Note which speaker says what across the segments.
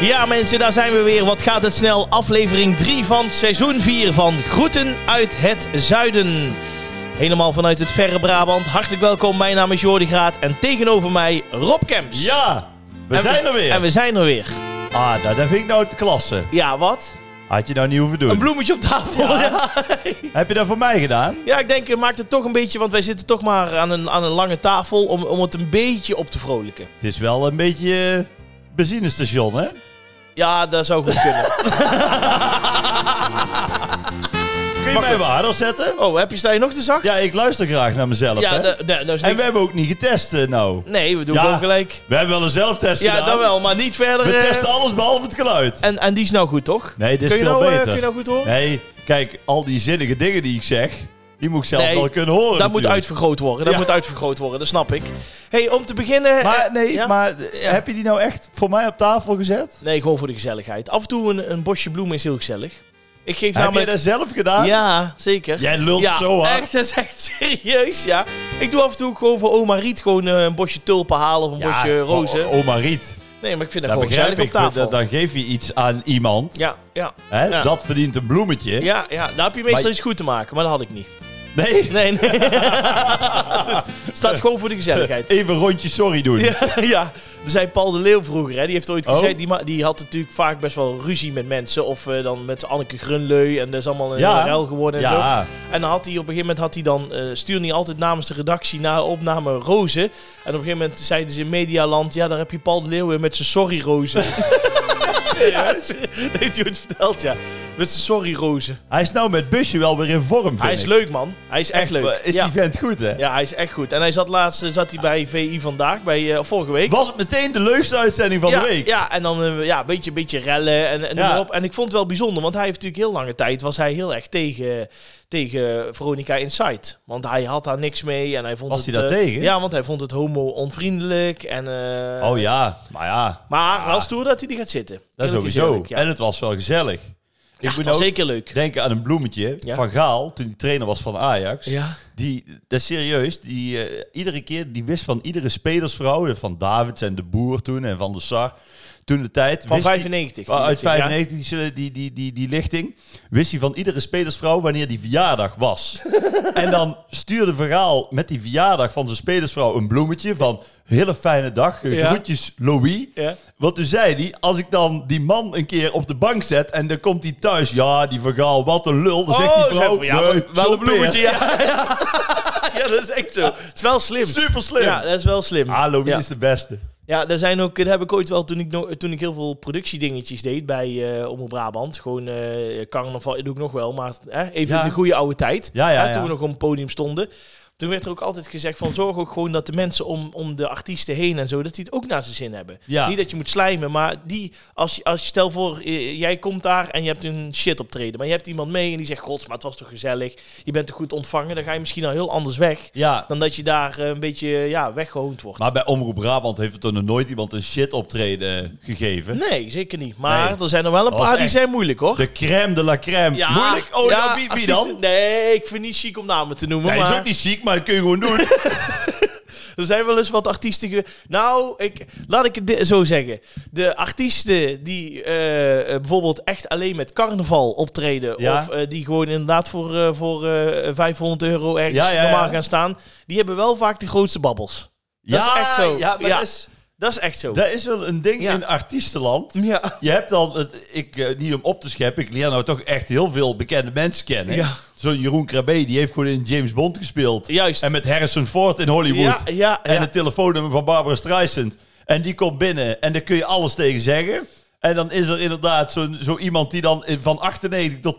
Speaker 1: Ja mensen, daar zijn we weer. Wat gaat het snel? Aflevering 3 van seizoen 4 van Groeten uit het Zuiden. Helemaal vanuit het verre Brabant. Hartelijk welkom, mijn naam is Jordi Graat en tegenover mij Rob Kemps.
Speaker 2: Ja, we
Speaker 1: En
Speaker 2: zijn er weer.
Speaker 1: En we zijn er weer.
Speaker 2: Ah, nou, dat vind ik nou te klasse.
Speaker 1: Ja, wat?
Speaker 2: Had je nou niet hoeven
Speaker 1: Een
Speaker 2: doen.
Speaker 1: bloemetje op tafel. Ja, ja.
Speaker 2: Heb je dat voor mij gedaan?
Speaker 1: ik denk, het maakt het toch een beetje, want wij zitten toch maar aan een, aan een lange tafel om, om het een beetje op te vrolijken.
Speaker 2: Het is wel een beetje eh, benzinestation, hè?
Speaker 1: Ja, dat zou goed kunnen.
Speaker 2: Kun je mij waarder zetten?
Speaker 1: Oh, heb je, sta je nog te zacht?
Speaker 2: Ja, ik luister graag naar mezelf,
Speaker 1: Ja,
Speaker 2: hè?
Speaker 1: da- da- dat is
Speaker 2: En
Speaker 1: niks.
Speaker 2: we hebben ook niet getest, eh, nou.
Speaker 1: Nee, we doen
Speaker 2: Ja.
Speaker 1: gewoon gelijk.
Speaker 2: We hebben wel een zelftest
Speaker 1: Ja,
Speaker 2: gedaan.
Speaker 1: dat wel, maar niet verder.
Speaker 2: We
Speaker 1: eh,
Speaker 2: testen alles behalve het geluid.
Speaker 1: En, en die is nou goed, toch?
Speaker 2: Nee, dit is
Speaker 1: kun je
Speaker 2: veel
Speaker 1: nou, eh,
Speaker 2: beter.
Speaker 1: kun je nou goed horen?
Speaker 2: Nee, kijk, al die zinnige dingen die ik zeg, die moet ik zelf
Speaker 1: Nee,
Speaker 2: wel kunnen horen
Speaker 1: dat moet
Speaker 2: natuurlijk.
Speaker 1: uitvergroot worden. Dat
Speaker 2: Ja.
Speaker 1: moet uitvergroot worden, dat snap ik. hey, om te beginnen... eh,
Speaker 2: Maar nee,
Speaker 1: ja?
Speaker 2: maar eh, heb je die nou echt voor mij op tafel gezet?
Speaker 1: Nee, gewoon voor de gezelligheid. Af en toe een, een bosje bloemen is heel gezellig. Ik geef
Speaker 2: Heb je
Speaker 1: namelijk...
Speaker 2: dat zelf gedaan?
Speaker 1: Ja, zeker.
Speaker 2: Jij lult
Speaker 1: ja,
Speaker 2: zo hard.
Speaker 1: echt, dat is echt serieus, ja. Ik doe af en toe ook gewoon voor oma Riet gewoon eh, een bosje tulpen halen of een bosje
Speaker 2: van
Speaker 1: rozen.
Speaker 2: Oma Riet.
Speaker 1: Nee, maar ik vind dat,
Speaker 2: Dat
Speaker 1: gewoon
Speaker 2: begrijp
Speaker 1: gezellig
Speaker 2: ik.
Speaker 1: op tafel.
Speaker 2: Dan, dan geef je iets aan iemand.
Speaker 1: Ja, ja.
Speaker 2: Hè?
Speaker 1: Ja.
Speaker 2: Dat verdient een bloemetje.
Speaker 1: Ja, ja, daar heb je meestal
Speaker 2: Maar-
Speaker 1: iets goed te maken, maar dat had ik niet.
Speaker 2: Nee?
Speaker 1: Nee, nee. dus staat gewoon voor de gezelligheid.
Speaker 2: Even rondje sorry doen.
Speaker 1: Ja, ja, er zei Paul de Leeuw vroeger, hè, die heeft ooit
Speaker 2: Oh.
Speaker 1: gezegd, die, ma- die had natuurlijk vaak best wel ruzie met mensen. Of eh, dan met Anneke Grunleu en dat is allemaal een
Speaker 2: Ja.
Speaker 1: ruil geworden en zo.
Speaker 2: Ja.
Speaker 1: En dan had hij op een gegeven moment, had hij dan, eh stuurde hij altijd namens de redactie na de opname rozen. En op een gegeven moment zeiden ze in Medialand, ja daar heb je Paul de Leeuw weer met zijn sorry rozen. ja, dat heeft hij ooit verteld, ja. Met zijn sorry rozen.
Speaker 2: Hij is nou met busje wel weer in vorm, vind
Speaker 1: Hij is
Speaker 2: ik. eh,
Speaker 1: leuk man, hij is echt, leuk.
Speaker 2: Is
Speaker 1: ja.
Speaker 2: die vent goed, hè?
Speaker 1: ja, hij is echt goed. En hij zat laatst eh, zat hij bij VI vandaag, bij, eh, vorige week.
Speaker 2: Was het meteen de leukste uitzending van
Speaker 1: ja,
Speaker 2: de week?
Speaker 1: Ja, en dan eh, ja, een beetje, een beetje rellen en, en noem
Speaker 2: Ja.
Speaker 1: maar op. En ik vond het wel bijzonder, want hij heeft natuurlijk heel lange tijd... was hij heel erg tegen, tegen Veronica Insight. Want hij had daar niks mee en hij vond
Speaker 2: Was
Speaker 1: het...
Speaker 2: hij daar
Speaker 1: eh,
Speaker 2: tegen?
Speaker 1: Ja, want hij vond het homo-onvriendelijk en... eh,
Speaker 2: Oh ja, maar ja,
Speaker 1: Maar wel stoer dat hij er gaat zitten.
Speaker 2: dat
Speaker 1: is
Speaker 2: sowieso.
Speaker 1: heerlijk, ja.
Speaker 2: En het was wel gezellig.
Speaker 1: Ja,
Speaker 2: ik
Speaker 1: het
Speaker 2: moet
Speaker 1: was
Speaker 2: ook
Speaker 1: zeker leuk.
Speaker 2: denken aan een bloemetje
Speaker 1: Ja.
Speaker 2: van Gaal, toen hij trainer was van Ajax.
Speaker 1: Ja.
Speaker 2: Die, dat is serieus, die eh, iedere keer, die wist van iedere spelersvrouw, eh, van Davids en de Boer toen en van de Sar, toen de tijd.
Speaker 1: Van
Speaker 2: wist hij-
Speaker 1: 95.
Speaker 2: Ah, uit
Speaker 1: Ja.
Speaker 2: 95, die, zullen- die, die, die, die lichting, wist hij van iedere spelersvrouw wanneer die verjaardag was. en dan stuurde Verhaal met die verjaardag van zijn spelersvrouw een bloemetje van hele fijne dag, eh,
Speaker 1: Ja.
Speaker 2: groetjes Louis.
Speaker 1: Ja.
Speaker 2: Want toen zei hij, als ik dan die man een keer op de bank zet en dan komt hij thuis, ja, die Vergaal, wat een lul. Dan zegt
Speaker 1: Oh,
Speaker 2: die
Speaker 1: zei
Speaker 2: vrouw,
Speaker 1: van, ja,
Speaker 2: nee,
Speaker 1: wel- wel een
Speaker 2: zo'n
Speaker 1: bloemetje.
Speaker 2: peer.
Speaker 1: Ja, ja. ja, dat is echt zo. Het is wel slim.
Speaker 2: Super slim.
Speaker 1: Ja, dat is wel slim.
Speaker 2: Ah, Louis
Speaker 1: Ja.
Speaker 2: is de beste.
Speaker 1: Ja, daar zijn ook, dat heb ik ooit wel toen ik, nog- toen ik heel veel productiedingetjes deed bij eh Omroep Brabant. Gewoon eh carnaval, dat doe ik nog wel, maar hè, even
Speaker 2: Ja.
Speaker 1: in de goede oude tijd.
Speaker 2: Ja, ja,
Speaker 1: Hè,
Speaker 2: ja.
Speaker 1: Toen we nog op het podium stonden. Toen werd er ook altijd gezegd van zorg ook gewoon dat de mensen om, om de artiesten heen en zo, dat die het ook naar zijn zin hebben.
Speaker 2: Ja.
Speaker 1: Niet dat je moet slijmen, maar die, als, je- als je stel voor, eh, jij komt daar en je hebt een shit optreden, maar je hebt iemand mee en die zegt, gods, maar het was toch gezellig, je bent toch goed ontvangen, dan ga je misschien al heel anders weg
Speaker 2: Ja,
Speaker 1: dan dat je daar eh, een beetje ja, weggehoond wordt.
Speaker 2: maar bij Omroep Brabant heeft er toch nog nooit iemand een shit optreden gegeven.
Speaker 1: Nee, zeker niet. Maar
Speaker 2: Nee.
Speaker 1: er zijn er wel een
Speaker 2: Dat was
Speaker 1: paar die
Speaker 2: echt-
Speaker 1: zijn moeilijk, hoor.
Speaker 2: De crème de la crème. Moeilijk? Oh,
Speaker 1: ja,
Speaker 2: nou, wie, wie
Speaker 1: artiesten-
Speaker 2: dan?
Speaker 1: Nee, ik vind het niet chic om namen te noemen,
Speaker 2: Hij
Speaker 1: maar
Speaker 2: is ook niet ziek, maar dat kun je gewoon doen.
Speaker 1: er zijn wel eens wat artiesten... ge- Nou, ik, laat ik het di- zo zeggen. De artiesten die eh, eh, bijvoorbeeld echt alleen met carnaval optreden...
Speaker 2: Ja.
Speaker 1: of eh, die gewoon inderdaad voor, eh, voor eh, 500 euro ergens
Speaker 2: Ja, ja, ja.
Speaker 1: normaal gaan staan... die hebben wel vaak de grootste babbels. Dat is echt zo.
Speaker 2: Ja, maar
Speaker 1: Ja.
Speaker 2: Dat, is,
Speaker 1: Dat is echt zo.
Speaker 2: dat is wel een ding
Speaker 1: Ja.
Speaker 2: in artiestenland.
Speaker 1: Ja.
Speaker 2: Je hebt dan, het, ik, eh, niet om op te scheppen, ik leer nou toch echt heel veel bekende mensen kennen.
Speaker 1: Ja.
Speaker 2: Zo'n Jeroen Krabbe, die heeft gewoon in James Bond gespeeld.
Speaker 1: Juist.
Speaker 2: En met Harrison Ford in Hollywood.
Speaker 1: ja, ja,
Speaker 2: En
Speaker 1: ja.
Speaker 2: het telefoonnummer van Barbara Streisand. En die komt binnen en daar kun je alles tegen zeggen. En dan is er inderdaad zo'n- zo, iemand die dan in- van 98 tot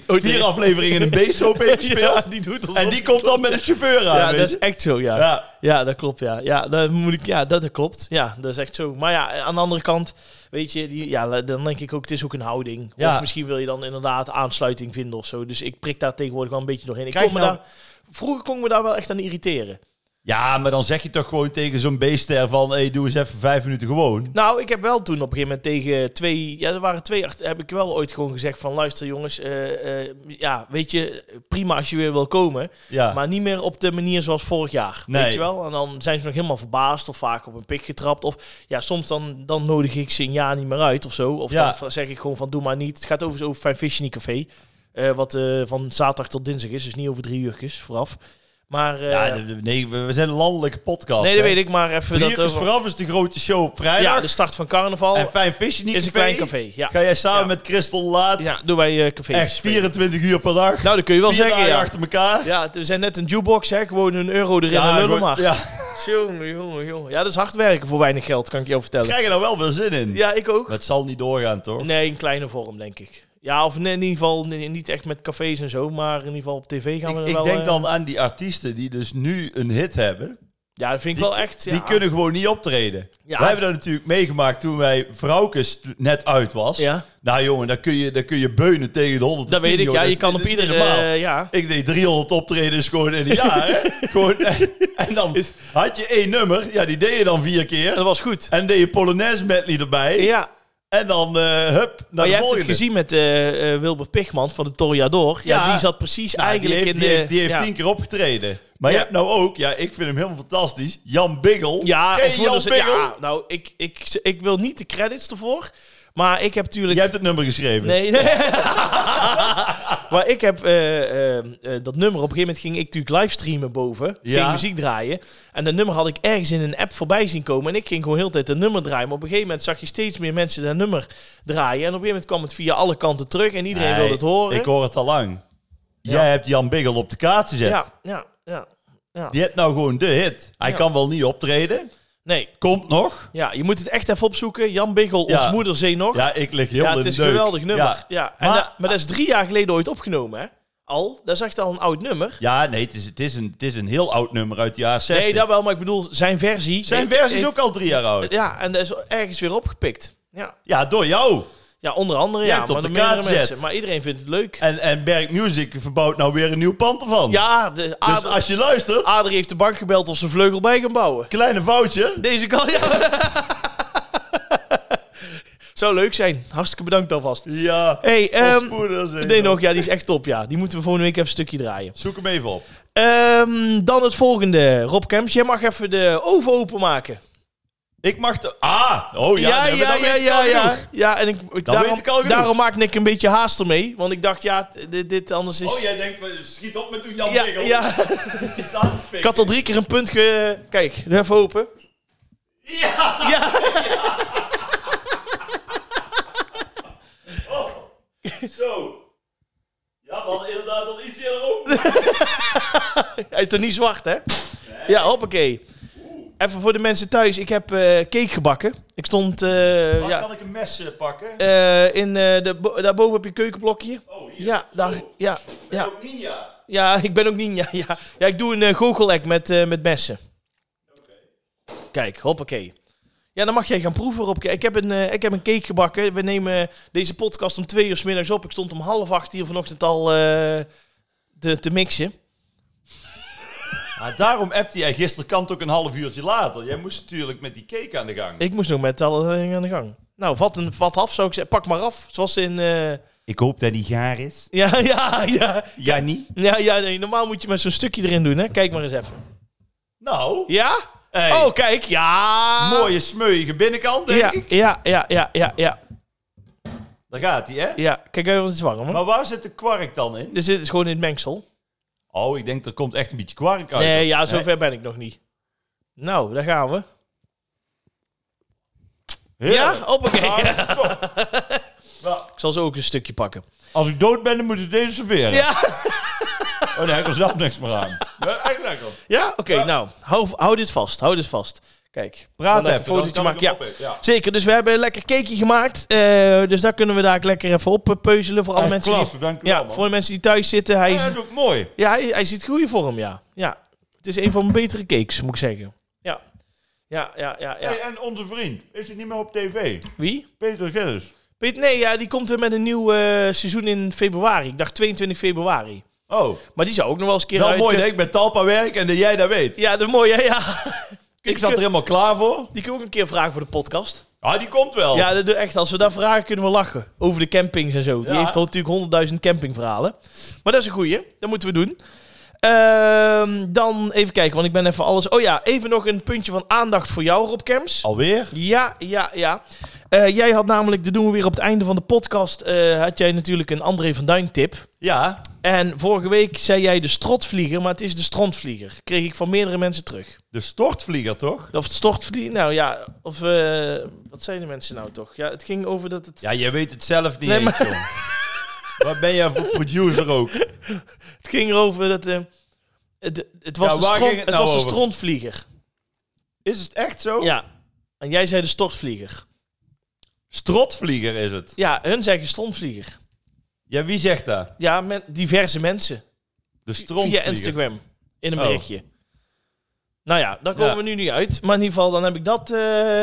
Speaker 1: Oh, die-
Speaker 2: vier afleveringen een B-soap heeft gespeeld.
Speaker 1: Ja, die doet alsof
Speaker 2: en die
Speaker 1: het
Speaker 2: komt dan met een chauffeur aan.
Speaker 1: Ja,
Speaker 2: weet
Speaker 1: dat
Speaker 2: je.
Speaker 1: is echt zo, ja.
Speaker 2: Ja.
Speaker 1: Ja, dat klopt, ja. Ja, dat, moet ik, ja, dat klopt. Ja, dat is echt zo. Maar ja, aan de andere kant, weet je, die, ja, dan denk ik ook, het is ook een houding.
Speaker 2: Ja.
Speaker 1: Of misschien wil je dan inderdaad aansluiting vinden of zo. Dus ik prik daar tegenwoordig wel een beetje doorheen. Ik
Speaker 2: Kijk
Speaker 1: kon me
Speaker 2: nou-
Speaker 1: daar, vroeger kon ik me daar wel echt aan irriteren.
Speaker 2: Ja, maar dan zeg je toch gewoon tegen zo'n beester van... hey, doe eens even vijf minuten gewoon.
Speaker 1: Nou, ik heb wel toen op een gegeven moment tegen twee... Ja, er waren twee... acht- Heb ik wel ooit gewoon gezegd van... Luister jongens, eh, eh, ja, weet je... Prima als je weer wil komen.
Speaker 2: Ja,
Speaker 1: Maar niet meer op de manier zoals vorig jaar.
Speaker 2: Nee.
Speaker 1: Weet je wel? En dan zijn ze nog helemaal verbaasd of vaak op een pik getrapt. Of ja, soms dan, dan nodig ik ze een jaar niet meer uit of zo. Of
Speaker 2: Ja.
Speaker 1: dan zeg ik gewoon van doe maar niet. Het gaat overigens over Fijn Fish in die Café. eh, wat eh, van zaterdag tot dinsdag is. Dus niet over drie uurtjes vooraf. Maar eh,
Speaker 2: ja de- de- nee, we we zijn een landelijke podcast.
Speaker 1: nee, dat
Speaker 2: hè.
Speaker 1: weet ik. Maar even
Speaker 2: Drie
Speaker 1: dat
Speaker 2: uur is
Speaker 1: over...
Speaker 2: vooraf is de grote show op vrijdag.
Speaker 1: Ja, de start van carnaval
Speaker 2: en Fijn Visje niet
Speaker 1: is een klein café. Ja,
Speaker 2: Ga jij samen
Speaker 1: Ja.
Speaker 2: met Christel Laat
Speaker 1: ja doen wij eh café.
Speaker 2: echt 24 uur per dag...
Speaker 1: Nou, dat kun je wel
Speaker 2: vier
Speaker 1: zeggen,
Speaker 2: dagen
Speaker 1: ja.
Speaker 2: achter elkaar.
Speaker 1: Ja, we zijn net een jukebox, hè. Gewoon een euro erin en lullen
Speaker 2: gewoon-
Speaker 1: maar.
Speaker 2: ja.
Speaker 1: Jongen, jongen, jongen. Ja, dat is hard werken voor weinig geld, kan ik je al vertellen.
Speaker 2: krijg je nou wel weer zin in.
Speaker 1: Ja, ik ook.
Speaker 2: Maar het zal niet doorgaan, toch?
Speaker 1: Nee, in kleine vorm, denk ik. Ja, of in, in ieder geval ni- niet echt met cafés en zo, maar in ieder geval op tv gaan we
Speaker 2: Ik,
Speaker 1: er
Speaker 2: ik
Speaker 1: wel...
Speaker 2: denk
Speaker 1: eh,
Speaker 2: dan aan die artiesten die dus nu een hit hebben.
Speaker 1: Ja, dat vind ik
Speaker 2: die-
Speaker 1: wel echt...
Speaker 2: Die
Speaker 1: ja.
Speaker 2: kunnen gewoon niet optreden.
Speaker 1: Ja.
Speaker 2: Wij hebben dat natuurlijk meegemaakt toen wij Vrouwkes t- net uit was.
Speaker 1: Ja.
Speaker 2: Nou jongen, dan kun, je, dan kun je beunen tegen de 100.
Speaker 1: Dat weet ik, ja. Je kan op iedere... eh, ja.
Speaker 2: Ik deed 300 optredens gewoon in een jaar. hè. gewoon, en dan had je één nummer. Ja, die deed je dan vier keer.
Speaker 1: Dat was goed.
Speaker 2: En deed je Polonaise medley erbij.
Speaker 1: Ja,
Speaker 2: En dan, eh hup, naar
Speaker 1: maar je
Speaker 2: de
Speaker 1: hebt het
Speaker 2: volgende.
Speaker 1: gezien met eh, eh, Wilbert Pigman van de Toriador. Ja,
Speaker 2: Ja.
Speaker 1: die zat precies
Speaker 2: Nou,
Speaker 1: eigenlijk
Speaker 2: die heeft,
Speaker 1: in de...
Speaker 2: die heeft, die heeft
Speaker 1: ja.
Speaker 2: tien keer opgetreden. Maar
Speaker 1: Ja.
Speaker 2: je hebt nou ook, ja, ik vind hem helemaal fantastisch. Jan Biggel.
Speaker 1: Ja,
Speaker 2: Ken je
Speaker 1: het wordt
Speaker 2: Jan
Speaker 1: dus-
Speaker 2: Biggel?
Speaker 1: ja, nou, ik, ik, ik wil niet de credits ervoor, maar ik heb natuurlijk...
Speaker 2: Jij hebt het nummer geschreven.
Speaker 1: Nee, nee. maar ik heb eh, eh, eh, dat nummer. Op een gegeven moment ging ik natuurlijk livestreamen boven.
Speaker 2: Ja.
Speaker 1: Ging muziek draaien. En dat nummer had ik ergens in een app voorbij zien komen. En ik ging gewoon heel de tijd dat nummer draaien. Maar op een gegeven moment zag je steeds meer mensen dat nummer draaien. En op een gegeven moment kwam het via alle kanten terug. En iedereen
Speaker 2: Nee,
Speaker 1: wilde het horen.
Speaker 2: Ik hoor het al lang. Jij hebt Jan Biggel op de kaart gezet.
Speaker 1: ja, ja, ja.
Speaker 2: Die heeft nou gewoon de hit. Hij
Speaker 1: Ja.
Speaker 2: kan wel niet optreden.
Speaker 1: Nee,
Speaker 2: Komt nog.
Speaker 1: ja, je moet het echt even opzoeken. Jan Biggel,
Speaker 2: Ja.
Speaker 1: Ons Moeder Zee Nog. Ja,
Speaker 2: Ja, ik lig heel in
Speaker 1: het is
Speaker 2: de
Speaker 1: een
Speaker 2: deuk.
Speaker 1: geweldig nummer. Ja.
Speaker 2: Ja.
Speaker 1: En
Speaker 2: Maar-
Speaker 1: dat- maar dat is drie jaar geleden ooit opgenomen, hè? Al, dat is echt al een oud nummer.
Speaker 2: Ja, nee, het is, het, is een, het is een heel oud nummer uit de jaren 60.
Speaker 1: Nee, dat wel, maar ik bedoel, zijn versie.
Speaker 2: Zijn
Speaker 1: heeft-
Speaker 2: versie is
Speaker 1: heeft-
Speaker 2: ook al drie jaar oud.
Speaker 1: Ja, en dat is ergens weer opgepikt. Ja,
Speaker 2: Ja, door jou.
Speaker 1: ja onder andere,
Speaker 2: Jij
Speaker 1: ja,
Speaker 2: hebt op
Speaker 1: maar door
Speaker 2: de
Speaker 1: meerdere
Speaker 2: kaart gezet.
Speaker 1: mensen. Maar iedereen vindt het leuk.
Speaker 2: En, en Berk Music verbouwt nou weer een nieuw pand ervan.
Speaker 1: Ja, de
Speaker 2: dus
Speaker 1: Ader,
Speaker 2: als je luistert,
Speaker 1: Ader heeft de bank gebeld of ze vleugel bij gaan bouwen.
Speaker 2: kleine foutje.
Speaker 1: Deze kan, ja. Zou leuk zijn. Hartstikke bedankt alvast.
Speaker 2: Ja.
Speaker 1: hey,
Speaker 2: Als
Speaker 1: ehm
Speaker 2: spoeder, zeg
Speaker 1: nee
Speaker 2: maar.
Speaker 1: nog, ja, die is echt top, ja. Die moeten we volgende week even een stukje draaien.
Speaker 2: Zoek hem even op.
Speaker 1: Ehm, dan het volgende. Rob Kemps, jij mag even de oven openmaken.
Speaker 2: Ik mag de... Ah! Oh ja, nee, maar dan weet ik al genoeg.
Speaker 1: ja. Ja, en ik, ik,
Speaker 2: Dan
Speaker 1: daarom,
Speaker 2: weet ik al genoeg.
Speaker 1: daarom maakte ik een beetje haast ermee. Want ik dacht, ja, t- dit, dit anders is...
Speaker 2: Oh, jij denkt, we- schiet op met toen Jan
Speaker 1: ja,
Speaker 2: Biggel.
Speaker 1: ja.
Speaker 2: Die staat te
Speaker 1: ik
Speaker 2: pikken.
Speaker 1: had al drie keer een punt ge... Kijk, doe even open.
Speaker 2: Ja!
Speaker 1: Ja.
Speaker 2: Oh. Zo. Ja, we hadden inderdaad al iets eerder op.
Speaker 1: Hij is toch niet zwart, hè? Ja, hoppakee. Even voor de mensen thuis. Ik heb eh, cake gebakken. Ik stond eh,
Speaker 2: Waar
Speaker 1: ja,
Speaker 2: kan ik een mes eh, pakken?
Speaker 1: eh, in, eh, de, bo- daarboven heb je een keukenblokje.
Speaker 2: oh, hier.
Speaker 1: Ja, daar,
Speaker 2: Zo.
Speaker 1: ja,
Speaker 2: Ben je
Speaker 1: ja.
Speaker 2: ook ninja.
Speaker 1: Ja, ik ben ook niet. Ja, ja. ja ik doe een uh, goochelek met, eh, met messen. Kijk, hoppakee. Ja, dan mag jij gaan proeven, Rob. Ik heb een, eh, ik heb een cake gebakken. We nemen deze podcast om twee uur 's middags op. Ik stond om half acht hier vanochtend al eh, te, te mixen.
Speaker 2: Ah, daarom appte jij gisterkant ook een half uurtje later. Jij moest natuurlijk met die cake aan de gang.
Speaker 1: Ik moest nog met alle dingen aan de gang. Nou, vat, een, vat af, zou ik zeggen. Pak maar af, zoals in... eh,
Speaker 2: hoop dat die gaar is.
Speaker 1: Ja, ja, ja.
Speaker 2: Ja, niet?
Speaker 1: Ja, ja nee, normaal moet je met zo'n stukje erin doen, hè. Kijk maar eens even.
Speaker 2: Nou.
Speaker 1: Ja?
Speaker 2: hey,
Speaker 1: Oh, kijk, ja.
Speaker 2: Mooie smeuïge binnenkant, denk
Speaker 1: Ja,
Speaker 2: ik.
Speaker 1: ja, ja, ja, ja, ja.
Speaker 2: Daar gaat hij, hè?
Speaker 1: Ja, kijk even, het is warm, hoor.
Speaker 2: Maar waar zit de kwark dan in?
Speaker 1: Dus dit is gewoon in het mengsel.
Speaker 2: Oh, ik denk er komt echt een beetje kwark uit.
Speaker 1: Nee, ja, zover ben ik nog niet. Nou, daar gaan we. Ja? Hoppakee.
Speaker 2: Ah.
Speaker 1: Ik zal zo ook een stukje pakken.
Speaker 2: Als ik dood ben, dan moet ik deze serveren.
Speaker 1: Ja.
Speaker 2: Oh nee, ik er zelf niks meer aan. Ja, echt lekker.
Speaker 1: Ja? Oké,
Speaker 2: Ja.
Speaker 1: nou. Hou, hou dit vast. Hou dit vast. Kijk.
Speaker 2: Praat
Speaker 1: Ik zal
Speaker 2: even,
Speaker 1: een fotootje
Speaker 2: dan kan ik
Speaker 1: maken. Ja.
Speaker 2: hem opeten, ja.
Speaker 1: Zeker. Dus we hebben een lekker cakeje gemaakt. Eh, dus daar kunnen we daar lekker even op eh, peuzelen. Voor alle
Speaker 2: Echt
Speaker 1: mensen
Speaker 2: klasse,
Speaker 1: die,
Speaker 2: dank u
Speaker 1: ja,
Speaker 2: wel, man.
Speaker 1: voor de mensen die thuis zitten. Hij,
Speaker 2: Ja, dat is ook mooi.
Speaker 1: ja, hij, hij ziet goede vorm, ja. Ja. Het is een van mijn betere cakes, moet ik zeggen. Ja. Ja, ja, ja, ja.
Speaker 2: Hey, en onze vriend, is het niet meer op tv?
Speaker 1: Wie?
Speaker 2: Peter Gillis.
Speaker 1: Piet, nee, ja, die komt er met een nieuw eh, seizoen in februari. Ik dacht 22 februari.
Speaker 2: Oh,
Speaker 1: Maar die zou ook nog wel eens een keer
Speaker 2: wel
Speaker 1: uit
Speaker 2: mooi dat
Speaker 1: kunnen-
Speaker 2: ik met Talpa werk en dat jij dat weet.
Speaker 1: Ja, dat is mooi, hè? Ja.
Speaker 2: Ik zat er helemaal klaar voor.
Speaker 1: Die kun je ook een keer vragen voor de podcast.
Speaker 2: Ah, die komt wel.
Speaker 1: Ja, dat doe- echt, als we daar vragen kunnen we lachen. Over de campings en zo. Die
Speaker 2: Ja.
Speaker 1: heeft al natuurlijk honderdduizend campingverhalen. Maar dat is een goeie. Dat moeten we doen. Ehm, dan even kijken, want ik ben even alles... Oh ja, even nog een puntje van aandacht voor jou, Rob Kemps.
Speaker 2: Alweer?
Speaker 1: Ja, ja, ja. Eh, jij had namelijk, dat doen we weer op het einde van de podcast... eh, had jij natuurlijk een André van Duin tip.
Speaker 2: Ja.
Speaker 1: En vorige week zei jij de strotvlieger, maar het is de strontvlieger. Kreeg ik van meerdere mensen terug.
Speaker 2: De stortvlieger, toch?
Speaker 1: Of het stortvlieger, nou ja. Of eh, wat zeiden de mensen nou toch? Ja, het ging over dat het...
Speaker 2: Ja, jij weet het zelf niet
Speaker 1: Nee,
Speaker 2: eens, jong. Wat ben jij voor producer ook?
Speaker 1: Het ging erover dat... eh, het, het was,
Speaker 2: Ja,
Speaker 1: de,
Speaker 2: waar
Speaker 1: stront-
Speaker 2: ging het
Speaker 1: het
Speaker 2: nou
Speaker 1: was de
Speaker 2: over?
Speaker 1: strontvlieger.
Speaker 2: Is het echt zo?
Speaker 1: Ja. En jij zei de stortvlieger.
Speaker 2: Strotvlieger is het.
Speaker 1: Ja, hun zeggen strontvlieger.
Speaker 2: Ja, wie zegt dat?
Speaker 1: Ja, men- diverse mensen.
Speaker 2: De
Speaker 1: Via
Speaker 2: strontvlieger.
Speaker 1: Instagram. In een
Speaker 2: Oh.
Speaker 1: berichtje. Nou ja, daar komen
Speaker 2: Ja.
Speaker 1: we nu niet uit. Maar in ieder geval, dan heb ik dat... eh,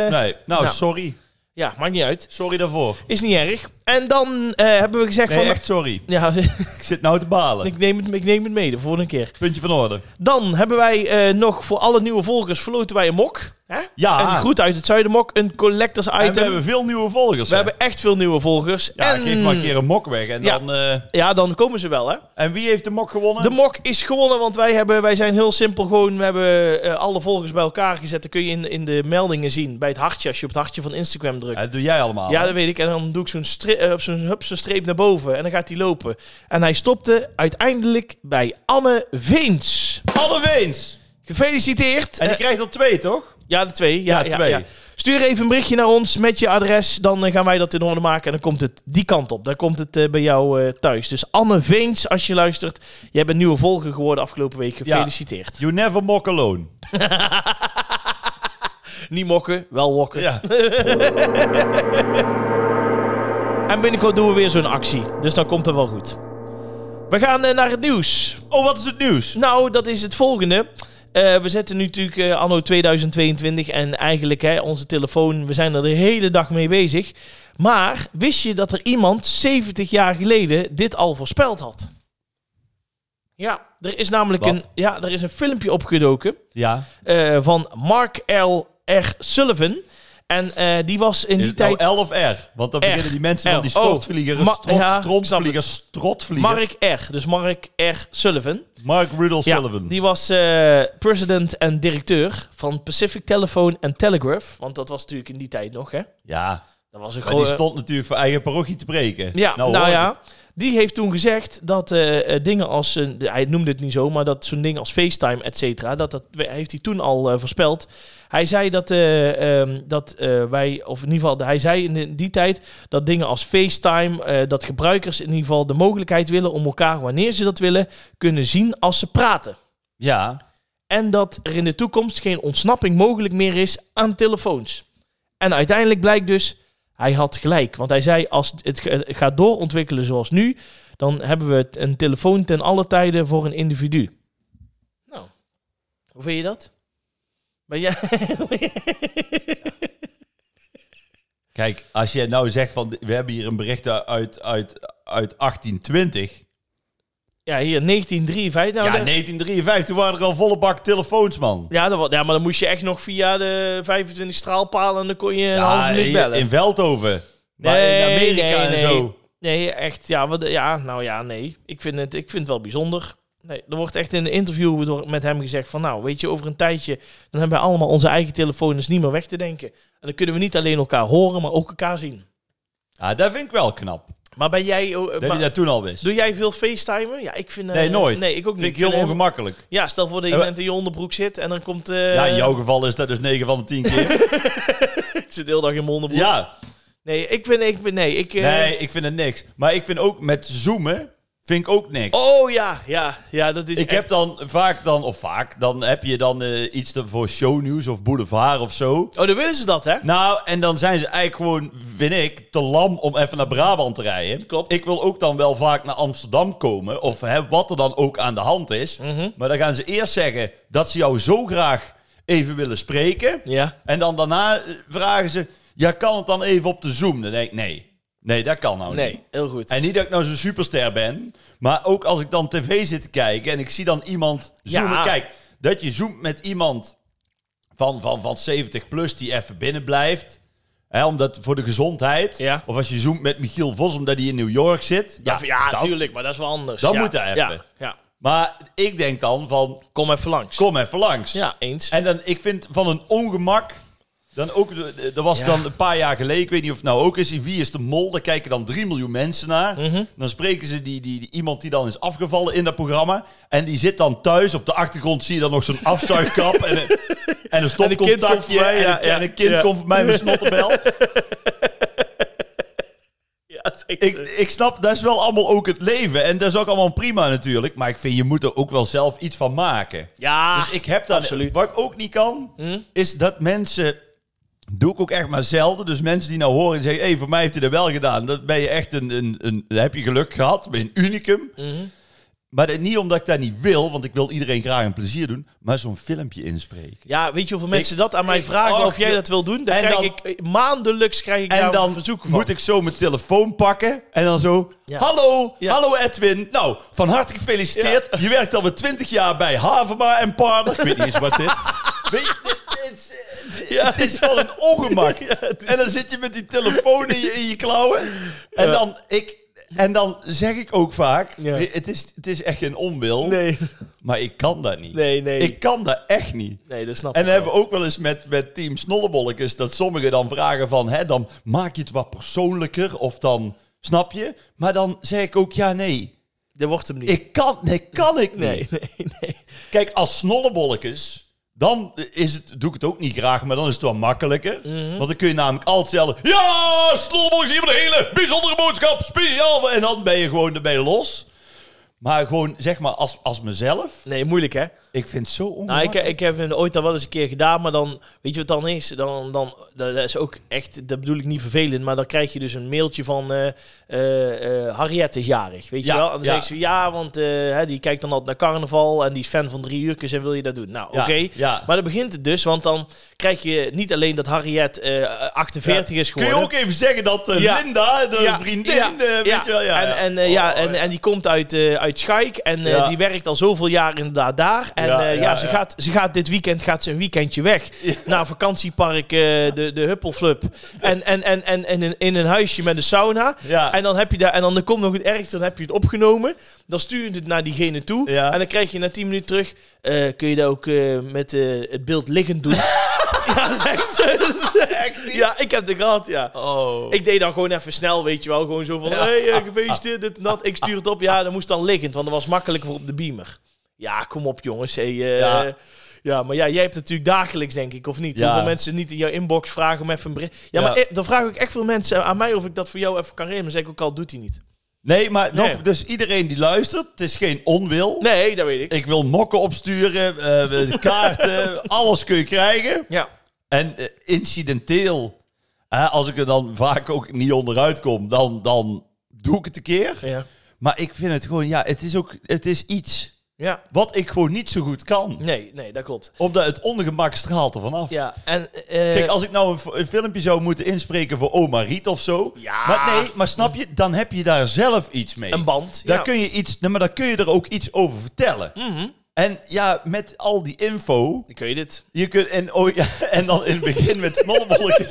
Speaker 2: Nee, nou,
Speaker 1: Nou.
Speaker 2: sorry.
Speaker 1: Ja, maakt niet uit.
Speaker 2: Sorry daarvoor.
Speaker 1: Is niet erg. En dan eh, hebben we gezegd
Speaker 2: Nee,
Speaker 1: van...
Speaker 2: echt sorry.
Speaker 1: Ja,
Speaker 2: Ik zit nou te balen.
Speaker 1: ik neem, het, ik neem het mee de volgende keer.
Speaker 2: Puntje van orde.
Speaker 1: Dan hebben wij eh, nog voor alle nieuwe volgers verloten wij een mok. Hè?
Speaker 2: Ja,
Speaker 1: Een groet uit het zuidenmok, een collectors
Speaker 2: Ah. en
Speaker 1: item.
Speaker 2: we hebben veel nieuwe volgers.
Speaker 1: We
Speaker 2: hè?
Speaker 1: hebben echt veel nieuwe volgers.
Speaker 2: Ja,
Speaker 1: en...
Speaker 2: geef maar een keer een mok weg. En,
Speaker 1: Ja.
Speaker 2: dan, eh,
Speaker 1: Ja, dan komen ze wel, hè?
Speaker 2: en wie heeft de mok gewonnen?
Speaker 1: De mok is gewonnen, want wij, hebben, wij zijn heel simpel gewoon... We hebben eh, alle volgers bij elkaar gezet. Dat kun je in, in de meldingen zien, bij het hartje. Als je op het hartje van Instagram drukt.
Speaker 2: Ja, dat doe jij allemaal.
Speaker 1: Ja,
Speaker 2: hè?
Speaker 1: dat weet ik. En dan doe ik zo'n stri- eh, op zo'n hup, zo'n streep naar boven. En dan gaat hij lopen. En hij stopte uiteindelijk bij Anne Veens.
Speaker 2: Alle Weens.
Speaker 1: Gefeliciteerd.
Speaker 2: En die
Speaker 1: Eh,
Speaker 2: krijgt er twee, toch?
Speaker 1: ja, de twee. Ja,
Speaker 2: ja,
Speaker 1: ja,
Speaker 2: twee.
Speaker 1: ja. Stuur even een berichtje naar ons met je adres. Dan eh, gaan wij dat in orde maken. En dan komt het die kant op. Dan komt het eh, bij jou eh, thuis. Dus Anne Veens, als je luistert. Jij bent nieuwe volger geworden afgelopen week. Gefeliciteerd.
Speaker 2: You never mock alone.
Speaker 1: Niet mokken, wel wokken.
Speaker 2: Ja.
Speaker 1: En binnenkort doen we weer zo'n actie. Dus dan komt het wel goed. We gaan eh, naar het nieuws.
Speaker 2: Oh, wat is het nieuws?
Speaker 1: Nou, dat is het volgende. Eh, we zitten nu natuurlijk eh, anno 2022 en eigenlijk hè, onze telefoon, we zijn er de hele dag mee bezig. Maar wist je dat er iemand 70 jaar geleden dit al voorspeld had? Ja, er is namelijk
Speaker 2: Wat?
Speaker 1: een, ja, er is een filmpje opgedoken
Speaker 2: Ja.
Speaker 1: eh, van Mark L. R. Sullivan. En eh, die was in
Speaker 2: Is
Speaker 1: die
Speaker 2: het
Speaker 1: tijd...
Speaker 2: nou L of R? Want dan
Speaker 1: R.
Speaker 2: beginnen die mensen
Speaker 1: R.
Speaker 2: van die stortvlieger,
Speaker 1: Oh, ma-
Speaker 2: strot,
Speaker 1: ja,
Speaker 2: strontvlieger, strotvlieger. Mark,
Speaker 1: Mark R. Dus Mark R. Sullivan.
Speaker 2: Rudolph
Speaker 1: Ja,
Speaker 2: Sullivan.
Speaker 1: die was eh, president en directeur van Pacific Telephone en Telegraph. Want dat was natuurlijk in die tijd nog, hè?
Speaker 2: Ja,
Speaker 1: Dat was een
Speaker 2: maar die
Speaker 1: grote...
Speaker 2: stond natuurlijk voor eigen parochie te preken.
Speaker 1: eh, Ja, nou,
Speaker 2: hoor.
Speaker 1: ja. Die heeft toen gezegd dat eh, eh, dingen als... een- de- hij noemde het niet zo, maar dat zo'n ding als FaceTime, et cetera... Dat, dat we- heeft hij toen al eh, voorspeld. Hij zei dat, eh, ehm, dat eh, wij... Of in ieder geval, hij zei in die tijd dat dingen als FaceTime... eh, dat gebruikers in ieder geval de mogelijkheid willen om elkaar, wanneer ze dat willen... kunnen zien als ze praten.
Speaker 2: Ja,
Speaker 1: En dat er in de toekomst geen ontsnapping mogelijk meer is aan telefoons. En uiteindelijk blijkt dus, hij had gelijk. Want hij zei, als het ge- gaat doorontwikkelen zoals nu, dan hebben we t- een telefoon ten alle tijden voor een individu. Nou, hoe vind je dat? Ben jij...
Speaker 2: kijk, als je nou zegt van, we hebben hier een bericht uit, uit, uit 1820.
Speaker 1: ja, hier, 1953. Nou,
Speaker 2: ja,
Speaker 1: daar-
Speaker 2: 1953, toen waren er al volle bak telefoons, man.
Speaker 1: ja, dat wa- ja, maar dan moest je echt nog via de 25 straalpalen en dan kon je een
Speaker 2: Ja,
Speaker 1: half minuut
Speaker 2: in-
Speaker 1: bellen.
Speaker 2: in Veldhoven. Maar in
Speaker 1: Nee,
Speaker 2: Amerika
Speaker 1: nee,
Speaker 2: en
Speaker 1: nee.
Speaker 2: zo.
Speaker 1: Nee, echt. Ja, wat, ja, nou ja, nee. Ik vind het, ik vind het wel bijzonder. Nee, er wordt echt in een interview door, met hem gezegd van... nou, weet je, over een tijdje... dan hebben we allemaal onze eigen telefoon dus niet meer weg te denken. En dan kunnen we niet alleen elkaar horen, maar ook elkaar zien.
Speaker 2: Ja, dat vind ik wel knap.
Speaker 1: Maar ben jij... oh, eh,
Speaker 2: Dat
Speaker 1: maar-
Speaker 2: hij dat toen al wist.
Speaker 1: doe jij veel facetimen? Ja, ik vind... eh,
Speaker 2: Nee, nooit.
Speaker 1: Nee, ik ook
Speaker 2: vind
Speaker 1: niet.
Speaker 2: ik heel
Speaker 1: vind, eh,
Speaker 2: ongemakkelijk.
Speaker 1: Ja, stel voor dat je
Speaker 2: Eh,
Speaker 1: bent in je onderbroek zit en dan komt... eh
Speaker 2: ja, in jouw geval is dat dus 9 van de 10 keer.
Speaker 1: Ik zit de hele dag in mijn onderbroek.
Speaker 2: ja,
Speaker 1: Nee, ik ben... Ik ben nee, ik... eh,
Speaker 2: nee, ik vind het niks. Maar ik vind ook met zoomen, vind ik ook niks.
Speaker 1: Oh ja, ja. Ja, dat is
Speaker 2: ik heb dan vaak dan, of vaak, dan heb je dan eh, iets te- voor shownieuws of boulevard of zo.
Speaker 1: Oh, dan willen ze dat, hè?
Speaker 2: Nou, en dan zijn ze eigenlijk gewoon, vind ik, te lam om even naar Brabant te rijden.
Speaker 1: Klopt.
Speaker 2: Ik wil ook dan wel vaak naar Amsterdam komen, of hè, wat er dan ook aan de hand is.
Speaker 1: Mhm.
Speaker 2: Maar dan gaan ze eerst zeggen dat ze jou zo graag even willen spreken.
Speaker 1: Ja.
Speaker 2: En dan daarna eh, vragen ze, ja, kan het dan even op de Zoom? Dan denk ik, nee. Nee, dat kan nou niet.
Speaker 1: Oh, Nee, heel goed.
Speaker 2: En niet dat ik nou zo'n superster ben, maar ook als ik dan tv zit te kijken en ik zie dan iemand zoomen.
Speaker 1: Ja.
Speaker 2: Kijk, dat je zoomt met iemand van, van, van 70 plus die even binnen blijft. Hè, omdat voor de gezondheid.
Speaker 1: Ja.
Speaker 2: Of als je zoomt met Michiel Vos omdat hij in New York zit.
Speaker 1: ja, van- ja
Speaker 2: dan-
Speaker 1: tuurlijk, maar dat is wel anders.
Speaker 2: Dan
Speaker 1: ja.
Speaker 2: moet dat even.
Speaker 1: Ja, ja.
Speaker 2: Maar ik denk dan van,
Speaker 1: Kom even langs.
Speaker 2: kom even langs.
Speaker 1: Ja, eens.
Speaker 2: En dan, ik vind van een ongemak. Dan ook, de- de- er was
Speaker 1: Ja.
Speaker 2: dan een paar jaar geleden, ik weet niet of het nou ook is, in Wie is de Mol? Daar kijken dan 3 miljoen mensen naar.
Speaker 1: Mhm.
Speaker 2: Dan spreken ze die, die, die, iemand die dan is afgevallen in dat programma. En die zit dan thuis, op de achtergrond zie je dan nog zo'n afzuigkap en een, en een
Speaker 1: En een kind komt
Speaker 2: stopcontactje.
Speaker 1: voorbij,
Speaker 2: En,
Speaker 1: ja,
Speaker 2: een-
Speaker 1: ja,
Speaker 2: en een kind
Speaker 1: ja.
Speaker 2: komt voor mij met snottebel.
Speaker 1: ja, zeker.
Speaker 2: ik, ik snap, dat is wel allemaal ook het leven. En dat is ook allemaal prima natuurlijk. Maar ik vind, je moet er ook wel zelf iets van maken.
Speaker 1: ja.
Speaker 2: Dus ik heb daar...
Speaker 1: absoluut.
Speaker 2: Wat ik ook niet kan, is dat mensen... Doe ik ook echt maar zelden. Dus mensen die nou horen en zeggen... Hé, hey, voor mij heeft hij dat wel gedaan. Dat ben je echt een... een, een dan heb je geluk gehad. Ben je een unicum. Maar dat- niet omdat ik dat niet wil. Want ik wil iedereen graag een plezier doen. Maar zo'n filmpje inspreken.
Speaker 1: ja, weet je hoeveel mensen dat aan mij
Speaker 2: ik-
Speaker 1: vragen
Speaker 2: och,
Speaker 1: of jij
Speaker 2: joh.
Speaker 1: dat wil doen? Dan
Speaker 2: En
Speaker 1: krijg
Speaker 2: dan-
Speaker 1: ik eh, maandelijks krijg ik
Speaker 2: En
Speaker 1: daar
Speaker 2: dan
Speaker 1: verzoeken van.
Speaker 2: moet ik zo mijn telefoon pakken. En dan zo...
Speaker 1: Ja.
Speaker 2: Hallo,
Speaker 1: Ja.
Speaker 2: hallo Edwin. Nou, van harte gefeliciteerd. Je werkt alweer 20 jaar bij Havema en Partner. Ik weet niet eens wat dit... Weet je, dit- dit is-
Speaker 1: Ja.
Speaker 2: het is wel een ongemak.
Speaker 1: Ja, het is-
Speaker 2: En dan zit je met die telefoon in je, in je klauwen. En, dan, ik, en dan zeg ik ook vaak...
Speaker 1: Ja.
Speaker 2: Het, is, het is echt geen onwil,
Speaker 1: Nee,
Speaker 2: maar ik kan dat niet.
Speaker 1: nee, nee.
Speaker 2: Ik kan dat echt niet.
Speaker 1: nee, dat snap
Speaker 2: En
Speaker 1: ik
Speaker 2: dan
Speaker 1: wel.
Speaker 2: hebben we ook wel eens met, met Team Snollebolletjes dat sommigen dan vragen van, hè, dan maak je het wat persoonlijker of dan, snap je? Maar dan zeg ik ook, ja, nee,
Speaker 1: Dat wordt hem niet.
Speaker 2: ik kan, nee, kan ik niet.
Speaker 1: nee, nee, nee.
Speaker 2: Kijk, als Snollebolletjes, dan is het, doe ik het ook niet graag, maar dan is het wel makkelijker.
Speaker 1: Mhm.
Speaker 2: Want dan kun je namelijk altijd zeggen, ja, Snollebolletjes, hier met een hele bijzondere boodschap, speciaal. voor-" En dan ben je gewoon erbij los. Maar gewoon, zeg maar, als, als mezelf,
Speaker 1: Nee, moeilijk hè?
Speaker 2: ik vind het zo
Speaker 1: Nou,
Speaker 2: ongemakkelijk.
Speaker 1: ik, ik heb het ooit al wel eens een keer gedaan, maar dan, weet je wat dan is? Dan, dan, dat is ook echt, dat bedoel ik niet vervelend, maar dan krijg je dus een mailtje van eh eh, eh, Harriet is jarig, weet
Speaker 2: Ja,
Speaker 1: je wel? En dan
Speaker 2: ja.
Speaker 1: zegt ze, ja, want eh, hè, die kijkt dan altijd naar carnaval en die is fan van drie uurtjes en wil je dat doen? Nou,
Speaker 2: Ja,
Speaker 1: oké.
Speaker 2: ja.
Speaker 1: Maar dan begint het dus, want dan krijg je niet alleen dat Harriet eh, 48 is
Speaker 2: Kun
Speaker 1: geworden.
Speaker 2: je ook even zeggen dat eh,
Speaker 1: Ja.
Speaker 2: Linda, de
Speaker 1: Ja,
Speaker 2: vriendin,
Speaker 1: ja,
Speaker 2: eh, weet
Speaker 1: ja.
Speaker 2: je wel, ja.
Speaker 1: En,
Speaker 2: ja.
Speaker 1: en, eh, ja,
Speaker 2: Oh,
Speaker 1: en, en die komt uit, eh uit Schaik en eh,
Speaker 2: Ja.
Speaker 1: die werkt al zoveel jaar inderdaad daar. En eh,
Speaker 2: Ja,
Speaker 1: ja, ja,
Speaker 2: ja,
Speaker 1: ze,
Speaker 2: ja.
Speaker 1: Gaat, ze gaat dit weekend gaat ze een weekendje weg naar vakantiepark eh, de, de Huppelflup. En, en, en, en, en in, in een huisje met een sauna.
Speaker 2: Ja.
Speaker 1: En dan heb je daar, en dan komt nog het ergste, dan heb je het opgenomen. Dan stuur je het naar diegene toe.
Speaker 2: Ja.
Speaker 1: En dan krijg je na 10 minuten terug, eh, kun je dat ook eh, met eh, het beeld liggend doen? ja, zegt ze.
Speaker 2: Echt niet?
Speaker 1: Ja, ik heb het gehad, ja.
Speaker 2: Oh.
Speaker 1: Ik deed dan gewoon even snel, weet je wel. Gewoon zo van, hey, eh, gefeliciteerd, dit en dat. Ik stuur het op. Ja, dat moest dan liggend, want dat was makkelijker voor op de beamer. Ja, kom op jongens. Hey, eh,
Speaker 2: Ja.
Speaker 1: ja. maar ja, jij hebt het natuurlijk dagelijks, denk ik, of niet?
Speaker 2: Ja.
Speaker 1: Hoeveel mensen niet in jouw inbox vragen om even een bericht. Ja,
Speaker 2: Ja.
Speaker 1: maar eh, dan vragen ook echt veel mensen aan mij of ik dat voor jou even kan regelen. Dan zeg ik ook al, doet hij niet.
Speaker 2: Nee, maar
Speaker 1: Nee.
Speaker 2: Nog, dus iedereen die luistert, het is geen onwil.
Speaker 1: Nee, dat weet ik.
Speaker 2: Ik wil mokken opsturen, eh, kaarten, alles kun je krijgen.
Speaker 1: Ja,
Speaker 2: En eh, incidenteel, hè, als ik er dan vaak ook niet onderuit kom, dan, dan doe ik het een keer.
Speaker 1: ja,
Speaker 2: Maar ik vind het gewoon, ja, het is ook, het is iets
Speaker 1: ja.
Speaker 2: wat ik gewoon niet zo goed kan.
Speaker 1: Nee, nee, dat klopt.
Speaker 2: Omdat het ongemak straalt er vanaf.
Speaker 1: Ja, en... eh,
Speaker 2: Kijk, als ik nou een, f- een filmpje zou moeten inspreken voor oma Riet of zo.
Speaker 1: Ja.
Speaker 2: Maar nee, maar snap je, dan heb je daar zelf iets mee.
Speaker 1: een band.
Speaker 2: daar
Speaker 1: ja.
Speaker 2: kun je iets, nee, maar daar kun je er ook iets over vertellen.
Speaker 1: Mhm.
Speaker 2: En ja, met al die info.
Speaker 1: Dan kun je dit.
Speaker 2: Je kunt, en, oh ja, en dan in het begin met snollebolletjes.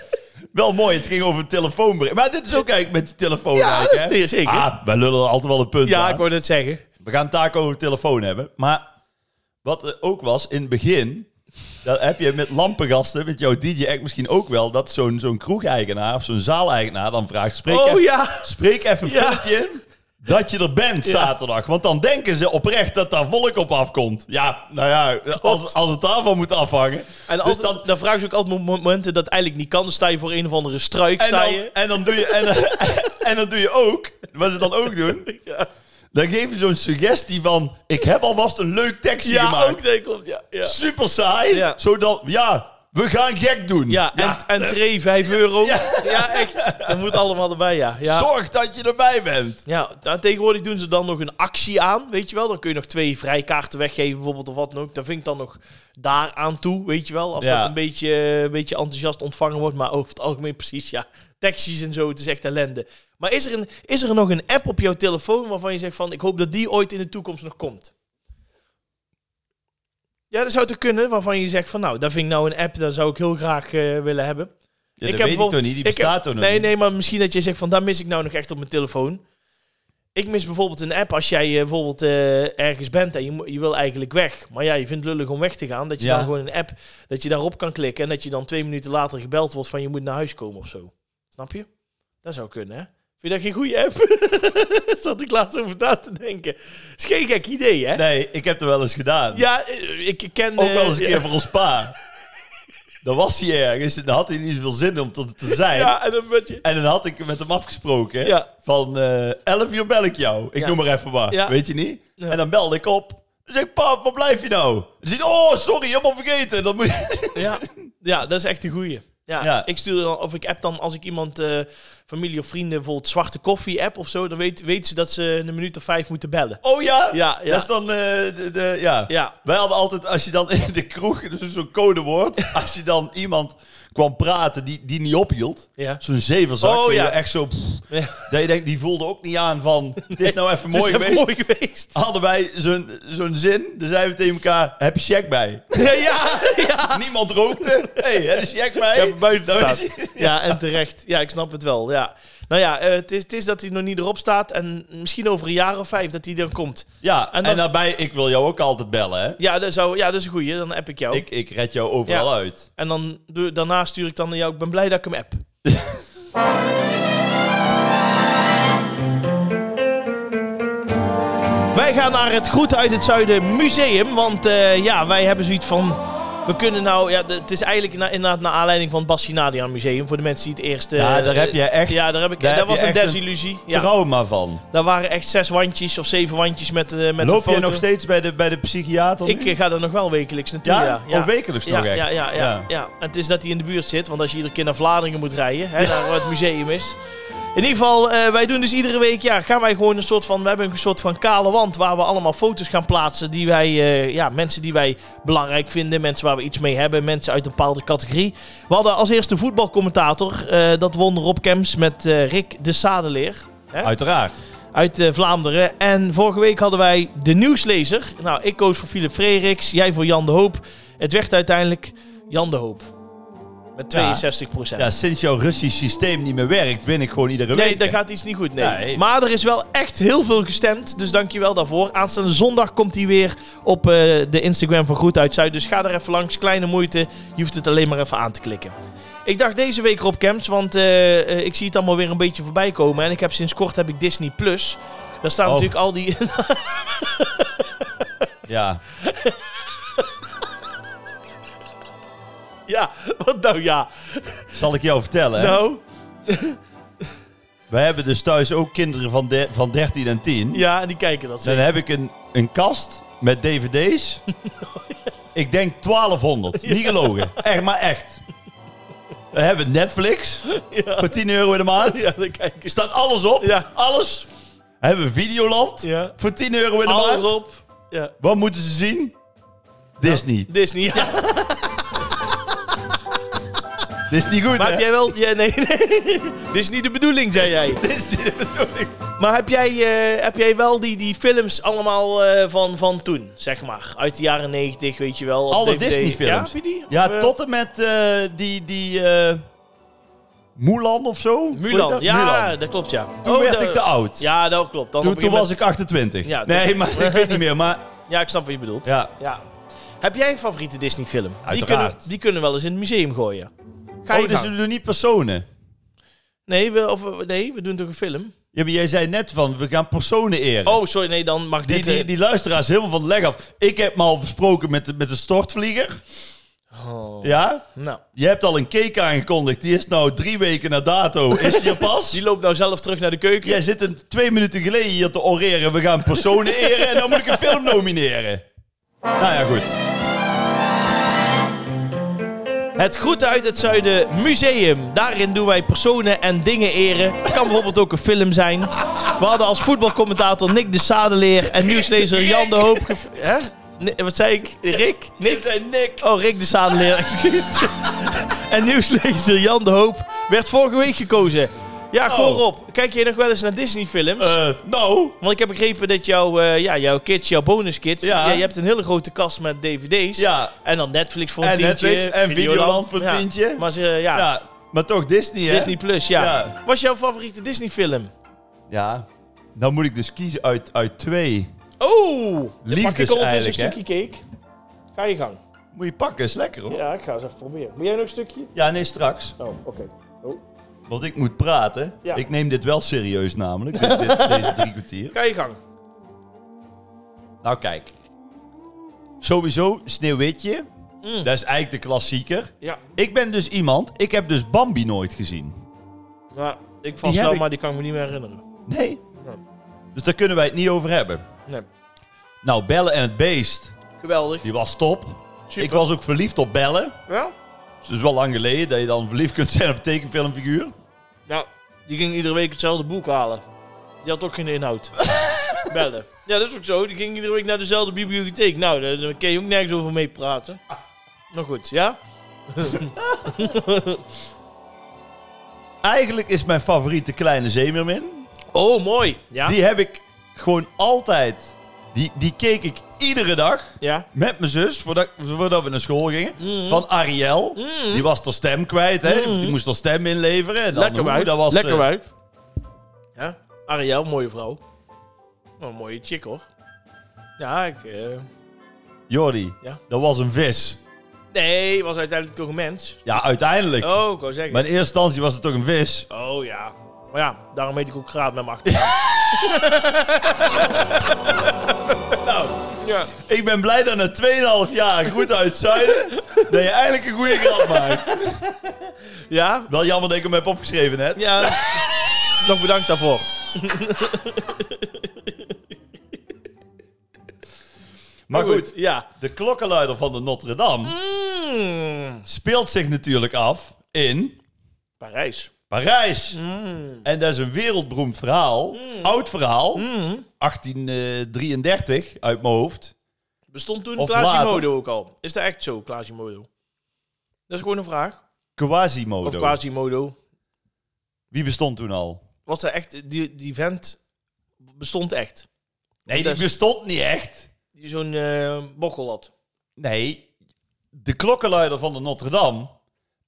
Speaker 2: wel mooi, het ging over een telefoonbericht. Maar dit is ook eigenlijk met die telefoon.
Speaker 1: Ja,
Speaker 2: eigenlijk,
Speaker 1: dat
Speaker 2: hè?
Speaker 1: is het, zeker.
Speaker 2: Ah, wij lullen er altijd wel een punt
Speaker 1: Ja,
Speaker 2: aan.
Speaker 1: ik wou net zeggen.
Speaker 2: We gaan taco over de telefoon hebben. Maar wat er ook was in het begin. Dat heb je met lampengasten, met jouw DJ act misschien ook wel. Dat zo'n zo'n kroegeigenaar of zo'n zaaleigenaar dan vraagt: spreek,
Speaker 1: Oh
Speaker 2: even,
Speaker 1: ja!
Speaker 2: spreek even een
Speaker 1: Ja.
Speaker 2: filmpje in dat je er bent zaterdag. Want dan denken ze oprecht dat daar volk op afkomt. Ja, nou ja, als, als het daarvan moet afhangen.
Speaker 1: En
Speaker 2: Dus
Speaker 1: altijd, dan, vragen ze ook altijd mo- momenten dat eigenlijk niet kan. Dan sta je voor een of andere struik.
Speaker 2: En
Speaker 1: Sta
Speaker 2: dan,
Speaker 1: je.
Speaker 2: en dan doe je. En, en dan doe je ook. Wat ze dan ook doen. Dan geven ze zo'n suggestie van: ik heb alvast een leuk tekstje
Speaker 1: Ja,
Speaker 2: gemaakt.
Speaker 1: ook dat komt. Ja, ja.
Speaker 2: super saai.
Speaker 1: Ja.
Speaker 2: Zodat, ja, we gaan gek doen.
Speaker 1: Ja, en, entree 5 euro. Ja. echt. Dat moet allemaal erbij, ja. ja.
Speaker 2: Zorg dat je erbij bent.
Speaker 1: Ja, nou, tegenwoordig doen ze dan nog een actie aan, weet je wel. Dan kun je nog twee vrijkaarten weggeven bijvoorbeeld of wat dan ook. Dan vind ik dan nog daar aan toe, weet je wel. Als
Speaker 2: Ja.
Speaker 1: dat een beetje, eh, een beetje enthousiast ontvangen wordt. Maar over het algemeen precies, ja. Taxis en zo, het is echt ellende. Maar is er, een, is er nog een app op jouw telefoon waarvan je zegt van... Ik hoop dat die ooit in de toekomst nog komt? Ja, dat zou toch kunnen, waarvan je zegt van... Nou, dat vind ik nou een app, dat zou ik heel graag eh, willen hebben.
Speaker 2: Ja,
Speaker 1: Ik heb
Speaker 2: dat weet ik
Speaker 1: bijvoorbeeld-
Speaker 2: toch niet, die
Speaker 1: ik heb-
Speaker 2: bestaat toch nog
Speaker 1: Nee,
Speaker 2: niet?
Speaker 1: nee, maar misschien dat je zegt van, daar mis ik nou nog echt op mijn telefoon. Ik mis bijvoorbeeld een app als jij eh, bijvoorbeeld eh, ergens bent en je, mo- je wil eigenlijk weg. Maar ja, je vindt het lullig om weg te gaan. Dat je
Speaker 2: Ja.
Speaker 1: dan gewoon een app, dat je daarop kan klikken en dat je dan twee minuten later gebeld wordt van je moet naar huis komen of zo. Snap je? Dat zou kunnen, hè? Vind je dat geen goede app? Zat ik laatst over na te denken. Is geen gek idee, hè?
Speaker 2: Nee, ik heb het wel eens gedaan.
Speaker 1: Ja, eh, ik ken...
Speaker 2: Ook
Speaker 1: eh,
Speaker 2: wel eens een
Speaker 1: ja.
Speaker 2: keer voor ons pa. Dan was hij ergens en dan had hij niet zoveel zin om tot te zijn.
Speaker 1: Ja, en dan word je...
Speaker 2: En dan had ik met hem afgesproken
Speaker 1: Ja.
Speaker 2: van eh 11 uur bel ik jou. Ik
Speaker 1: Ja.
Speaker 2: noem maar even maar,
Speaker 1: Ja.
Speaker 2: weet je niet?
Speaker 1: Ja.
Speaker 2: En dan belde ik op. Dan zeg ik, pap, waar blijf je nou? Dan zeg ik, oh, sorry, helemaal vergeten. Dan moet je...
Speaker 1: Ja, Dus ja dat is echt een goeie. Ja,
Speaker 2: Ja.
Speaker 1: ik stuur dan, of ik app dan als ik iemand, eh, familie of vrienden, bijvoorbeeld zwarte koffie app of zo, dan weet, weet ze dat ze een minuut of vijf moeten bellen.
Speaker 2: Oh ja?
Speaker 1: Ja, ja.
Speaker 2: Dat is dan, eh, de, de- ja.
Speaker 1: Ja,
Speaker 2: Wij hadden altijd, als je dan in de kroeg, dus zo'n codewoord, als je dan iemand kwam praten die, die niet ophield,
Speaker 1: ja.
Speaker 2: zo'n zeverzak,
Speaker 1: Oh,
Speaker 2: weet je,
Speaker 1: ja.
Speaker 2: echt zo, pff,
Speaker 1: Ja.
Speaker 2: dat je denkt, die voelde ook niet aan van, het is nou even
Speaker 1: Het is
Speaker 2: mooi
Speaker 1: even
Speaker 2: geweest.
Speaker 1: mooi geweest.
Speaker 2: Hadden wij zo'n zo'n zin, dan zeiden we tegen elkaar, heb je check bij?
Speaker 1: ja, ja,
Speaker 2: Niemand rookte. Hé, hey, is Jack mij.
Speaker 1: Ik heb hem buiten
Speaker 2: Dan
Speaker 1: staan.
Speaker 2: weet je-
Speaker 1: Ja, en terecht. Ja, ik snap het wel. Ja. Nou ja, eh, het is, het is dat hij nog niet erop staat en misschien over een jaar of vijf dat hij dan komt.
Speaker 2: Ja,
Speaker 1: En
Speaker 2: en,
Speaker 1: dan-
Speaker 2: daarbij, ik wil jou ook altijd bellen, hè.
Speaker 1: Ja, dat, zou, ja, dat is een goeie. Dan app ik jou.
Speaker 2: Ik, ik red jou overal
Speaker 1: Ja.
Speaker 2: uit.
Speaker 1: En dan, doe- daarna stuur ik dan naar jou, ik ben blij dat ik hem app. Wij gaan naar het Groet uit het Zuiden Museum. Want eh, ja, wij hebben zoiets van. We kunnen nou. Ja, de- het is eigenlijk na, inderdaad naar aanleiding van het Bassinadian Museum. Voor de mensen die het eerst. eh,
Speaker 2: Ja, daar heb je echt-
Speaker 1: Ja, daar heb ik.
Speaker 2: daar
Speaker 1: dat
Speaker 2: heb je
Speaker 1: was een
Speaker 2: echt een
Speaker 1: desillusie. Ja,
Speaker 2: Trauma van.
Speaker 1: daar waren echt zes wandjes of zeven wandjes met, eh met een
Speaker 2: Loop
Speaker 1: foto.
Speaker 2: je nog steeds bij de, bij de psychiater
Speaker 1: Ik
Speaker 2: nu?
Speaker 1: eh, ga er nog wel wekelijks naartoe.
Speaker 2: ja?
Speaker 1: Ja,
Speaker 2: Oh, wekelijks
Speaker 1: ja,
Speaker 2: nog echt?
Speaker 1: ja, ja, ja, ja. Het is dat hij in de buurt zit, want als je iedere keer naar Vlaardingen moet rijden, hè, naar waar het museum is. In ieder geval, eh, wij doen dus iedere week, ja, gaan wij gewoon een soort van, we hebben een soort van kale wand waar we allemaal foto's gaan plaatsen die wij, eh, ja, mensen die wij belangrijk vinden, mensen waar we iets mee hebben, mensen uit een bepaalde categorie. We hadden als eerste voetbalcommentator, eh, dat won Rob Kems met eh, Rick de Sadeleer. Hè?
Speaker 2: Uiteraard.
Speaker 1: uit eh, Vlaanderen. En vorige week hadden wij de nieuwslezer. Nou, ik koos voor Philip Frederiks, jij voor Jan de Hoop. Het werd uiteindelijk Jan de Hoop. Met 62 procent.
Speaker 2: Ja, sinds jouw Russisch systeem niet meer werkt, win ik gewoon iedere
Speaker 1: Nee,
Speaker 2: week.
Speaker 1: daar gaat iets niet goed. Nee.
Speaker 2: Nee.
Speaker 1: Maar er is wel echt heel veel gestemd. Dus dankjewel daarvoor. Aanstaande zondag komt hij weer op eh, de Instagram van Groet uit Zuid. Dus ga er even langs. Kleine moeite. Je hoeft het alleen maar even aan te klikken. Ik dacht deze week Rob Camps, want eh, eh, ik zie het allemaal weer een beetje voorbij komen. En ik heb sinds kort heb ik Disney Plus. Daar staan
Speaker 2: Oh.
Speaker 1: natuurlijk al die.
Speaker 2: Ja.
Speaker 1: ja, wat nou ja.
Speaker 2: Zal ik jou vertellen, hè?
Speaker 1: Nou,
Speaker 2: Wij hebben dus thuis ook kinderen van, de- van 13 en 10.
Speaker 1: ja, en die kijken dat.
Speaker 2: Dan
Speaker 1: zeker.
Speaker 2: heb ik een, een kast met dvd's. Ik denk 1200. Niet gelogen. Echt, maar echt. We hebben Netflix voor 10 euro in de maand.
Speaker 1: Ja, dan kijken ze.
Speaker 2: Staat alles op.
Speaker 1: Ja.
Speaker 2: Alles. Hebben we Videoland
Speaker 1: Ja.
Speaker 2: voor 10 euro in de
Speaker 1: Alles
Speaker 2: maand.
Speaker 1: op. Nou. Ja.
Speaker 2: Wat moeten ze zien? Disney.
Speaker 1: Disney. Ja.
Speaker 2: Dit is niet goed,
Speaker 1: Maar
Speaker 2: hè?
Speaker 1: heb jij wel... Ja, nee, nee. Dit is niet de bedoeling, zei jij.
Speaker 2: Dit is niet de bedoeling.
Speaker 1: Maar heb jij, eh, heb jij wel die, die films allemaal eh, van, van toen, zeg maar? Uit de jaren 90, weet je wel. op
Speaker 2: Alle
Speaker 1: DVD.
Speaker 2: Disney-films.
Speaker 1: Ja, heb je die?
Speaker 2: Ja,
Speaker 1: Of, eh,
Speaker 2: tot en met eh, die... die eh Mulan of zo? Hoe
Speaker 1: Mulan.
Speaker 2: heet dat?
Speaker 1: Ja,
Speaker 2: Mulan.
Speaker 1: dat klopt, ja.
Speaker 2: Toen
Speaker 1: Oh,
Speaker 2: werd
Speaker 1: dat-
Speaker 2: ik te oud.
Speaker 1: Ja, dat klopt. Dan
Speaker 2: Toen,
Speaker 1: op een
Speaker 2: toen
Speaker 1: gegeven
Speaker 2: was ik 28.
Speaker 1: Ja, toen-
Speaker 2: nee, maar ik weet niet meer. Maar
Speaker 1: moment- Ja, ik snap wat je bedoelt. Ja.
Speaker 2: ja,
Speaker 1: Heb jij een favoriete Disney-film? Die
Speaker 2: Uiteraard.
Speaker 1: kunnen, die kunnen we wel eens in het museum gooien. Ga je
Speaker 2: oh, dus
Speaker 1: gang.
Speaker 2: we doen niet personen.
Speaker 1: nee, we, of, we- nee, we doen toch een film?
Speaker 2: Ja, maar jij zei net van, we gaan personen eren.
Speaker 1: Oh, sorry, nee, dan mag
Speaker 2: die,
Speaker 1: dit... eh,
Speaker 2: die, die luisteraars helemaal van het leg af. Ik heb me al versproken met de, met de stortvlieger.
Speaker 1: Oh.
Speaker 2: Ja?
Speaker 1: Nou,
Speaker 2: Je hebt al een cake aangekondigd. Die is nou drie weken na dato. Is die er pas?
Speaker 1: die loopt nou zelf terug naar de keuken.
Speaker 2: Jij zit een, twee minuten geleden hier te oreren. We gaan personen eren en dan moet ik een film nomineren. Nou ja, goed.
Speaker 1: Het Groeten uit het Zuiden Museum. Daarin doen wij personen en dingen eren. Kan bijvoorbeeld ook een film zijn. We hadden als voetbalcommentator Nick de Sadeleer en nieuwslezer Jan de Hoop. gev- Hè? Nee, wat zei ik? Rick? Nick?
Speaker 2: Nick.
Speaker 1: Oh, Rick de Sadeleer, excuus. en nieuwslezer Jan de Hoop werd vorige week gekozen. Ja, gewoon
Speaker 2: Oh.
Speaker 1: Rob. Kijk je nog wel eens naar Disney-films?
Speaker 2: nou.
Speaker 1: Want ik heb begrepen dat jouw, eh, ja, jouw kids, jouw bonuskids...
Speaker 2: Ja.
Speaker 1: Ja, je hebt een hele grote kast met dvd's.
Speaker 2: Ja.
Speaker 1: En dan Netflix voor een
Speaker 2: En
Speaker 1: tientje.
Speaker 2: Netflix en Videoland voor een
Speaker 1: Ja.
Speaker 2: tientje.
Speaker 1: Maar ze, ja,
Speaker 2: Ja, maar toch Disney, hè?
Speaker 1: Disney Plus, ja.
Speaker 2: Ja.
Speaker 1: Was jouw favoriete Disney film?
Speaker 2: Ja. Nou moet ik dus kiezen uit, uit twee.
Speaker 1: Oh! Pak ik
Speaker 2: Liefdes
Speaker 1: ondertussen een
Speaker 2: eigenlijk, hè?
Speaker 1: stukje cake? Ga je gang.
Speaker 2: Moet je pakken, is lekker hoor. Ja,
Speaker 1: Ja, ik ga eens even proberen. Moet jij nog een stukje?
Speaker 2: nee, straks.
Speaker 1: Oh, oké. Oh.
Speaker 2: Want ik moet praten.
Speaker 1: Ja.
Speaker 2: Ik neem dit wel serieus namelijk, dit- dit- deze drie kwartier.
Speaker 1: Ga je gang.
Speaker 2: Nou kijk. Sowieso Sneeuwwitje.
Speaker 1: Mm.
Speaker 2: Dat is eigenlijk de klassieker.
Speaker 1: Ja.
Speaker 2: Ik ben dus iemand, ik heb dus Bambi nooit gezien.
Speaker 1: ja ik vast
Speaker 2: heb
Speaker 1: wel,
Speaker 2: ik.
Speaker 1: maar die kan ik me niet meer herinneren.
Speaker 2: Nee.
Speaker 1: Nee.
Speaker 2: Dus daar kunnen wij het niet over hebben.
Speaker 1: Nee.
Speaker 2: Nou, Bellen en het Beest,
Speaker 1: Geweldig.
Speaker 2: die was top.
Speaker 1: Super.
Speaker 2: Ik was ook verliefd op Bellen.
Speaker 1: Ja?
Speaker 2: Het is wel lang geleden dat je dan verliefd kunt zijn op een tekenfilmfiguur.
Speaker 1: Nou, die ging iedere week hetzelfde boek halen. Die had ook geen inhoud. Bellen. Ja, dat is ook zo. Die ging iedere week naar dezelfde bibliotheek. Nou, daar daar kun je ook nergens over mee praten. Nou goed, ja?
Speaker 2: Eigenlijk is mijn favoriet de Kleine Zeemermin.
Speaker 1: Oh, mooi. Ja?
Speaker 2: Die heb ik gewoon altijd... Die, die keek ik iedere dag
Speaker 1: Ja.
Speaker 2: met mijn zus, voordat, voordat we naar school gingen.
Speaker 1: Mhm.
Speaker 2: Van Ariel.
Speaker 1: Mm.
Speaker 2: Die was ter stem kwijt, hè.
Speaker 1: Mhm.
Speaker 2: Die moest ter stem inleveren. En dan,
Speaker 1: Lekker
Speaker 2: hoe,
Speaker 1: wijf.
Speaker 2: dat was,
Speaker 1: Lekker
Speaker 2: eh,
Speaker 1: wijf. Ja? Ariel, mooie vrouw. Oh, mooie chick, hoor. Ja, ik... eh,
Speaker 2: Jordi,
Speaker 1: Ja.
Speaker 2: dat was een vis.
Speaker 1: Nee, was uiteindelijk toch een mens.
Speaker 2: Ja, uiteindelijk.
Speaker 1: Oh, ik wou zeggen.
Speaker 2: Maar in eerste instantie was het toch een vis.
Speaker 1: Oh, ja. Maar ja, daarom heet ik ook graad met mijn achternaam. Nou, ja.
Speaker 2: Ik ben blij dat na 2,5 jaar goed uit het zuiden, dat je eigenlijk een goede grap maakt.
Speaker 1: Ja?
Speaker 2: Wel jammer dat ik hem heb opgeschreven net.
Speaker 1: Ja. Nog bedankt daarvoor.
Speaker 2: Maar goed,
Speaker 1: Ja.
Speaker 2: de klokkenluider van de Notre Dame
Speaker 1: Mm.
Speaker 2: speelt zich natuurlijk af in
Speaker 1: Parijs.
Speaker 2: Parijs.
Speaker 1: Mm.
Speaker 2: En dat is een wereldberoemd verhaal,
Speaker 1: Hmm.
Speaker 2: oud verhaal,
Speaker 1: Mm.
Speaker 2: 1833 uit mijn hoofd.
Speaker 1: Bestond toen
Speaker 2: Of
Speaker 1: Quasimodo ook al? Is dat echt zo, Quasimodo? Dat is gewoon een vraag. Of
Speaker 2: Quasimodo.
Speaker 1: Quasimodo.
Speaker 2: Wie bestond toen al?
Speaker 1: Was dat echt... Die, die vent bestond echt.
Speaker 2: Nee,
Speaker 1: Dat
Speaker 2: die
Speaker 1: is-
Speaker 2: bestond niet echt.
Speaker 1: Die zo'n eh bochel had.
Speaker 2: Nee, de klokkenluider van de Notre Dame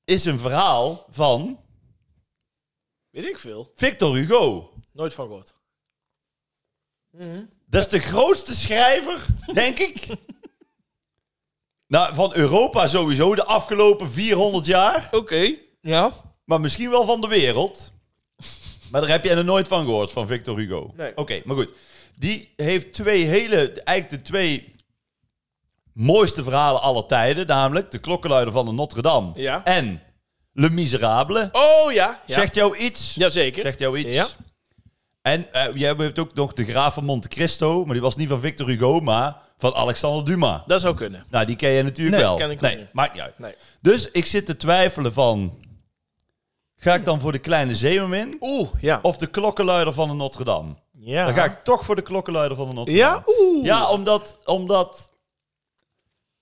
Speaker 2: is een verhaal van
Speaker 1: Weet ik veel.
Speaker 2: Victor Hugo.
Speaker 1: Nooit van gehoord.
Speaker 2: Dat is de grootste schrijver, denk ik. Nou, van Europa sowieso de afgelopen 400 jaar.
Speaker 1: Oké. Ja.
Speaker 2: Maar misschien wel van de wereld. Maar daar heb je er nooit van gehoord, van Victor Hugo.
Speaker 1: Nee.
Speaker 2: Oké, maar goed. Die heeft twee hele, eigenlijk de twee mooiste verhalen aller tijden. Namelijk De Klokkenluider van de Notre Dame.
Speaker 1: Ja.
Speaker 2: En Le Miserable.
Speaker 1: Oh, ja. ja.
Speaker 2: Zegt jou iets?
Speaker 1: Jazeker.
Speaker 2: Zegt jou iets?
Speaker 1: Ja.
Speaker 2: En eh, jij hebt ook nog de Graaf van Monte Cristo, maar die was niet van Victor Hugo, maar van Alexander Dumas.
Speaker 1: Dat zou kunnen.
Speaker 2: Nou, die ken je natuurlijk
Speaker 1: Nee,
Speaker 2: wel.
Speaker 1: ken ik ook niet.
Speaker 2: maakt niet uit.
Speaker 1: Nee.
Speaker 2: Dus ik zit te twijfelen van, ga ik dan voor de Kleine Zeemermin
Speaker 1: Oeh, ja. Oh,
Speaker 2: of de Klokkenluider van de Notre Dame?
Speaker 1: ja.
Speaker 2: Dan ga ik toch voor de Klokkenluider van de Notre Dame.
Speaker 1: Ja? Oeh.
Speaker 2: Ja, omdat, omdat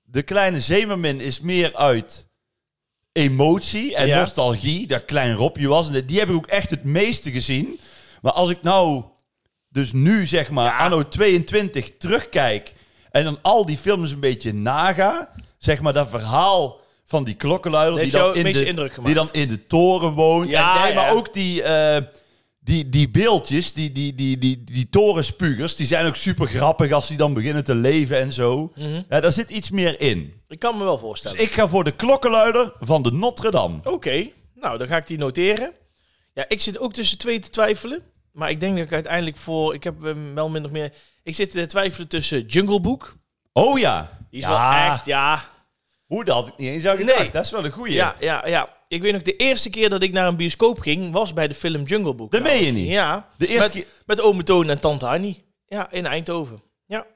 Speaker 2: de kleine zeemermin is meer uit emotie en
Speaker 1: Ja.
Speaker 2: nostalgie. Dat klein Robje was. En die- die heb ik ook echt het meeste gezien. Maar als ik nou dus nu, zeg maar, anno 22 terugkijk... en dan al die films een beetje naga... zeg maar, dat verhaal van die klokkenluider...
Speaker 1: heeft
Speaker 2: die dan,
Speaker 1: jou het
Speaker 2: in
Speaker 1: meeste
Speaker 2: de,
Speaker 1: indruk gemaakt.
Speaker 2: die dan in de toren woont.
Speaker 1: Ja,
Speaker 2: en, nee,
Speaker 1: ja.
Speaker 2: maar ook die... eh, die, die beeldjes, die, die, die, die, die torenspuugers, die zijn ook super grappig als die dan beginnen te leven en zo.
Speaker 1: Mhm.
Speaker 2: Ja, daar zit iets meer in.
Speaker 1: Ik kan me wel
Speaker 2: Dus
Speaker 1: voorstellen.
Speaker 2: ik ga voor de klokkenluider van de Notre Dame.
Speaker 1: Oké, nou dan ga ik die noteren. Ja, ik zit ook tussen twee te twijfelen. Maar ik denk dat ik uiteindelijk voor. Ik heb hem wel min of meer. Ik zit te twijfelen tussen Jungle Book.
Speaker 2: Oh ja.
Speaker 1: Die is
Speaker 2: ja.
Speaker 1: wel echt, ja.
Speaker 2: Hoe dat had ik niet eens aan gedacht.
Speaker 1: Nee.
Speaker 2: Dat is wel een goeie.
Speaker 1: Ja, ja, ja. Ik weet nog, de eerste keer dat ik naar een bioscoop ging, was bij de film Jungle Book.
Speaker 2: Dat meen je
Speaker 1: Nou,
Speaker 2: niet.
Speaker 1: Ja,
Speaker 2: De eerste
Speaker 1: met,
Speaker 2: keer-
Speaker 1: met ome Toon en tante Annie. Ja, in Eindhoven. Ja,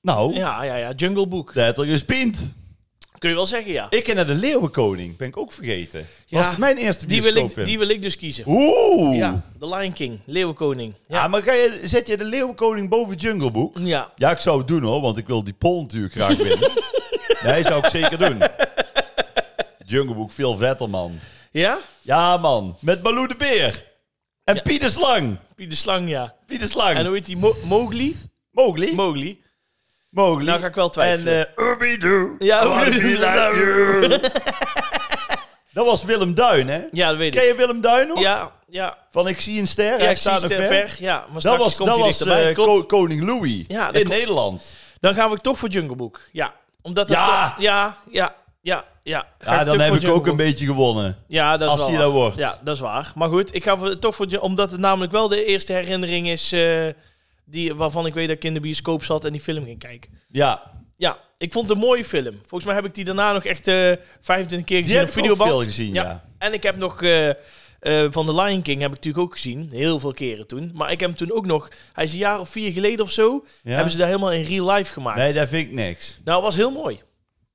Speaker 2: Nou,
Speaker 1: ja, ja, ja. Jungle Book.
Speaker 2: dat had er gespiend.
Speaker 1: Kun je wel zeggen, ja.
Speaker 2: Ik en de Leeuwenkoning ben ik ook vergeten.
Speaker 1: Ja,
Speaker 2: was mijn eerste
Speaker 1: Die wil,
Speaker 2: bioscoopfilm.
Speaker 1: ik, die wil ik dus kiezen.
Speaker 2: Oeh!
Speaker 1: Ja, The Lion King, Leeuwenkoning.
Speaker 2: Ja,
Speaker 1: Ja,
Speaker 2: maar ga je, zet je de Leeuwenkoning boven Jungle Book?
Speaker 1: ja.
Speaker 2: Ja, ik zou het doen hoor, want ik wil die poll natuurlijk graag winnen. nee, zou ik zeker doen. Jungle Book, veel vetter man.
Speaker 1: ja?
Speaker 2: Ja man, met Baloo de Beer. En Pieter Slang.
Speaker 1: Piet de Slang, ja.
Speaker 2: Pieter Slang.
Speaker 1: En hoe heet die? Mo- Mowgli?
Speaker 2: Mowgli.
Speaker 1: Mowgli.
Speaker 2: Mowgli.
Speaker 1: Nou ga ik wel
Speaker 2: en
Speaker 1: twijfelen.
Speaker 2: eh Ubidoo.
Speaker 1: Ja,
Speaker 2: I wanna be
Speaker 1: Ubidoo.
Speaker 2: like you. Dat was Willem Duin, hè?
Speaker 1: ja, dat weet
Speaker 2: Ken
Speaker 1: ik.
Speaker 2: je Willem Duin nog?
Speaker 1: Ja, ja.
Speaker 2: Van Ik zie een ster,
Speaker 1: Ja,
Speaker 2: hij
Speaker 1: ik zie
Speaker 2: staat
Speaker 1: het ver.
Speaker 2: er ver.
Speaker 1: ver. Ja, maar
Speaker 2: Dat
Speaker 1: straks
Speaker 2: was,
Speaker 1: komt
Speaker 2: dat
Speaker 1: hij
Speaker 2: was
Speaker 1: dichterbij.
Speaker 2: eh,
Speaker 1: Klopt.
Speaker 2: ko- koning Louis
Speaker 1: Ja, dat
Speaker 2: in
Speaker 1: klopt.
Speaker 2: Nederland.
Speaker 1: Dan gaan we toch voor Jungle Book. Ja. Omdat het
Speaker 2: Ja!
Speaker 1: toch- ja, ja, ja, ja. Ga
Speaker 2: Ja,
Speaker 1: toch
Speaker 2: dan heb
Speaker 1: voor
Speaker 2: ik
Speaker 1: Jungle
Speaker 2: ook een
Speaker 1: Book.
Speaker 2: beetje gewonnen.
Speaker 1: Ja, dat is
Speaker 2: als
Speaker 1: wel
Speaker 2: hij
Speaker 1: waar.
Speaker 2: dat wordt.
Speaker 1: Ja, dat is waar. Maar goed, ik ga voor- toch voor Ju- omdat het namelijk wel de eerste herinnering is eh, die, waarvan ik weet dat ik in de bioscoop zat en die film ging kijken.
Speaker 2: Ja,
Speaker 1: Ja, ik vond het een mooie film. Volgens mij heb ik die daarna nog echt eh 25 keer
Speaker 2: die
Speaker 1: gezien
Speaker 2: heb
Speaker 1: op
Speaker 2: ik ook
Speaker 1: videoband.
Speaker 2: veel gezien, ja.
Speaker 1: En ik heb nog eh, eh, van The Lion King heb ik natuurlijk ook gezien, heel veel keren toen. Maar ik heb hem toen ook nog, hij is een jaar of vier geleden of zo,
Speaker 2: Ja?
Speaker 1: hebben ze daar helemaal in real life gemaakt.
Speaker 2: Nee, daar vind ik niks.
Speaker 1: Nou, was heel mooi.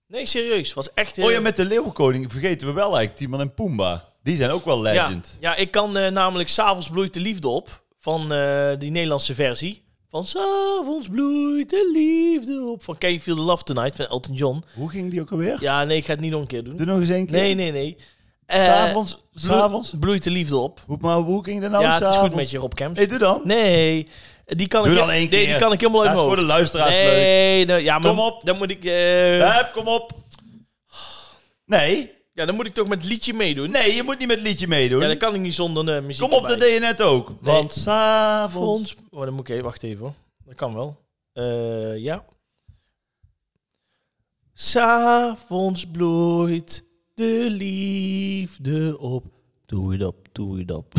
Speaker 1: Nee, serieus, was echt heel.
Speaker 2: Oh ja, met de Leeuwenkoning vergeten we wel eigenlijk Timon en Pumbaa. Die zijn ook wel
Speaker 1: Ja,
Speaker 2: legend.
Speaker 1: Ja, ik kan eh, namelijk S'avonds bloeit de liefde op. Van eh, die Nederlandse versie. Van S'avonds bloeit de liefde op. Van Can You Feel the Love Tonight van Elton John.
Speaker 2: Hoe ging die ook alweer?
Speaker 1: Ja, nee, ik ga het niet nog een keer doen.
Speaker 2: Doe nog eens één keer.
Speaker 1: Nee, nee, nee. Eh,
Speaker 2: S'avonds?
Speaker 1: bloe-
Speaker 2: S'avonds?
Speaker 1: Bloeit de liefde op.
Speaker 2: Hoe, maar hoe ging dat nou
Speaker 1: ja, het is goed
Speaker 2: s'avonds?
Speaker 1: met je, Rob Kemps.
Speaker 2: Nee, doe dan.
Speaker 1: Nee, die kan,
Speaker 2: Doe
Speaker 1: ik,
Speaker 2: dan
Speaker 1: he-
Speaker 2: één
Speaker 1: nee, die
Speaker 2: keer.
Speaker 1: kan ik helemaal uit
Speaker 2: Dat
Speaker 1: mijn
Speaker 2: is voor
Speaker 1: hoofd.
Speaker 2: de luisteraars leuk.
Speaker 1: nee, nou, ja, maar
Speaker 2: Kom
Speaker 1: dan-
Speaker 2: op.
Speaker 1: Dan moet ik... eh,
Speaker 2: Hup, kom op. Nee,
Speaker 1: ja, dan moet ik toch met het liedje meedoen.
Speaker 2: nee, je moet niet met het liedje meedoen.
Speaker 1: Ja, dat kan ik niet zonder eh, muziek
Speaker 2: kom op,
Speaker 1: erbij.
Speaker 2: dat deed je net ook. Want s'avonds...
Speaker 1: Vons. Oh, dan moet ik even wachten even hoor. Dat kan wel. Eh, ja. S'avonds bloeit de liefde op. Doe het op, doe het op.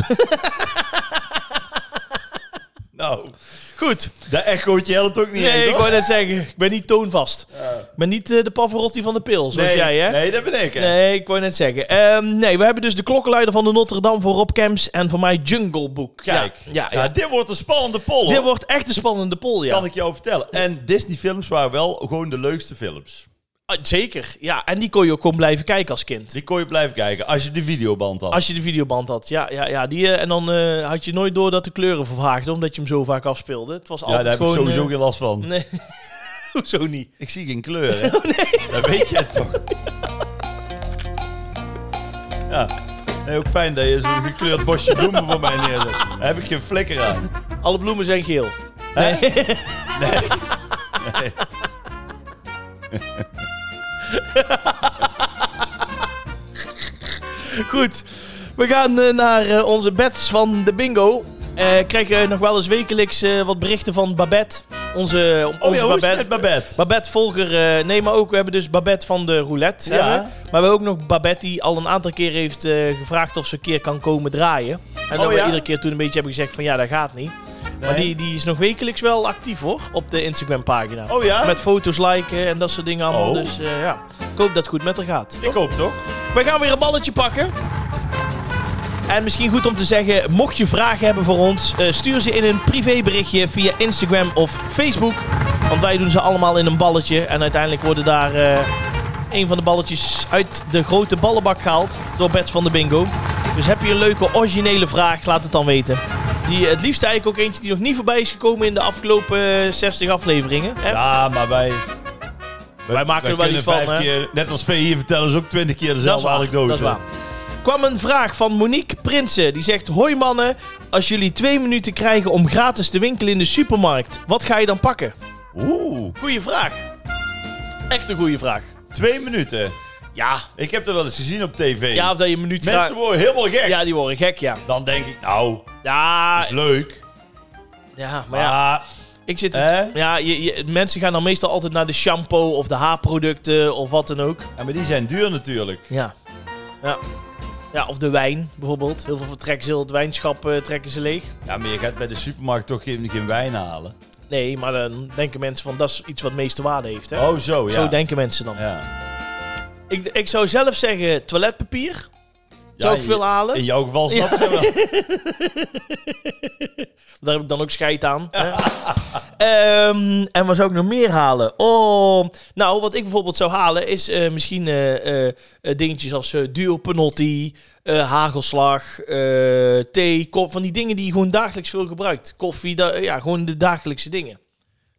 Speaker 2: Nou,
Speaker 1: Goed.
Speaker 2: dat echootje helpt ook niet echt,
Speaker 1: Nee, ik
Speaker 2: hoor.
Speaker 1: wou net zeggen, ik ben niet toonvast. Ik ben niet eh, de Pavarotti van de pil, zoals
Speaker 2: nee,
Speaker 1: jij hè?
Speaker 2: Nee, dat ben ik hè.
Speaker 1: Nee, ik wou net zeggen. Ehm, nee, we hebben dus de klokkenluider van de Notre Dame voor Rob Camps en voor mij Jungle Book.
Speaker 2: Kijk,
Speaker 1: Ja, ja,
Speaker 2: ja,
Speaker 1: ja.
Speaker 2: dit wordt een spannende poll.
Speaker 1: Dit
Speaker 2: hoor.
Speaker 1: wordt echt een spannende poll, ja.
Speaker 2: kan ik jou vertellen. En Disney films waren wel gewoon de leukste films.
Speaker 1: Ah, zeker, ja. En die kon je ook gewoon blijven kijken als kind.
Speaker 2: Die kon je blijven kijken als je de videoband had.
Speaker 1: Als je de videoband had, ja. ja, ja die, eh, en dan eh, had je nooit door dat de kleuren vervaagden, omdat je hem zo vaak afspeelde. Het was
Speaker 2: ja,
Speaker 1: altijd
Speaker 2: daar heb ik
Speaker 1: gewoon...
Speaker 2: sowieso
Speaker 1: eh,
Speaker 2: geen last van.
Speaker 1: Nee, Oh, hoezo niet?
Speaker 2: Ik zie geen kleur, hè. Dat weet je toch. Ja. Nee, ook fijn dat je zo'n gekleurd bosje bloemen voor mij neerzet. Daar heb ik geen flikker aan.
Speaker 1: Alle bloemen zijn geel.
Speaker 2: Hè? Nee.
Speaker 1: Goed, we gaan eh, naar eh, onze bets van de bingo. Eh krijg je nog wel eens wekelijks eh, wat berichten van Babette. Onze,
Speaker 2: Oh
Speaker 1: onze
Speaker 2: ja, hoe is het
Speaker 1: Babette.
Speaker 2: met Babette?
Speaker 1: Babette Volger, eh, nee, maar ook we hebben dus Babette van de roulette.
Speaker 2: Ja.
Speaker 1: hebben we. Maar we hebben ook nog Babette die al een aantal keer heeft eh, gevraagd of ze een keer kan komen draaien. En
Speaker 2: Oh
Speaker 1: dat
Speaker 2: ja?
Speaker 1: we iedere keer toen een beetje hebben gezegd van ja, dat gaat niet. Maar
Speaker 2: Nee.
Speaker 1: die, die is nog wekelijks wel actief hoor, op de Instagram pagina.
Speaker 2: Oh ja?
Speaker 1: Met foto's liken en dat soort dingen allemaal.
Speaker 2: Oh.
Speaker 1: Dus eh, ja, ik hoop dat het goed met haar gaat.
Speaker 2: Ik hoop toch?
Speaker 1: Wij gaan weer een balletje pakken. En misschien goed om te zeggen, mocht je vragen hebben voor ons, eh, stuur ze in een privéberichtje via Instagram of Facebook. Want wij doen ze allemaal in een balletje. En uiteindelijk worden daar eh, een van de balletjes uit de grote ballenbak gehaald door Bets van de Bingo. Dus heb je een leuke originele vraag, laat het dan weten. Die, eh, het liefst eigenlijk ook eentje die nog niet voorbij is gekomen in de afgelopen eh, 60 afleveringen. Hè?
Speaker 2: Ja, maar wij...
Speaker 1: Wij maken er wel
Speaker 2: kunnen
Speaker 1: iets van,
Speaker 2: vijf
Speaker 1: hè?
Speaker 2: keer, Net als V hier vertellen ze ook twintig keer dezelfde anekdote.
Speaker 1: Dat is waar. Kwam een vraag van Monique Prinsen. Die zegt: Hoi mannen, als jullie twee minuten krijgen om gratis te winkelen in de supermarkt, wat ga je dan pakken?
Speaker 2: Oeh,
Speaker 1: Goeie vraag. Echt een goede vraag.
Speaker 2: twee minuten.
Speaker 1: Ja.
Speaker 2: Ik heb dat wel eens gezien op tv.
Speaker 1: Ja, of dat je een minuut
Speaker 2: Mensen
Speaker 1: gra-
Speaker 2: worden helemaal gek.
Speaker 1: Ja, die worden gek, ja.
Speaker 2: Dan denk ik, nou,
Speaker 1: Ja,
Speaker 2: is leuk.
Speaker 1: ja maar
Speaker 2: Maar
Speaker 1: ja. Eh?
Speaker 2: ja,
Speaker 1: Ik zit.
Speaker 2: Hè?
Speaker 1: Ja, je, je- mensen gaan dan meestal altijd naar de shampoo of de haarproducten of wat dan ook.
Speaker 2: ja, maar die zijn duur natuurlijk.
Speaker 1: Ja. Ja. Ja, of de wijn bijvoorbeeld. Heel veel vertrekken ze heel het wijnschap eh, trekken ze leeg.
Speaker 2: Ja, maar je gaat bij de supermarkt toch geen, geen wijn halen.
Speaker 1: Nee, maar dan denken mensen van dat is iets wat meeste waarde heeft. Hè?
Speaker 2: Oh, zo, ja.
Speaker 1: Zo denken mensen dan.
Speaker 2: ja.
Speaker 1: Ik, ik zou zelf zeggen toiletpapier. Zou ik
Speaker 2: je-
Speaker 1: veel halen?
Speaker 2: In jouw geval snap ik het wel.
Speaker 1: Daar heb ik dan ook scheid aan. hè. Ehm, en wat zou ik nog meer halen? Oh, nou, wat ik bijvoorbeeld zou halen is eh, misschien eh, eh, eh, dingetjes als eh duo penotti, eh, hagelslag, eh, thee, koffie. Van die dingen die je gewoon dagelijks veel gebruikt. Koffie, da- ja, gewoon de dagelijkse dingen.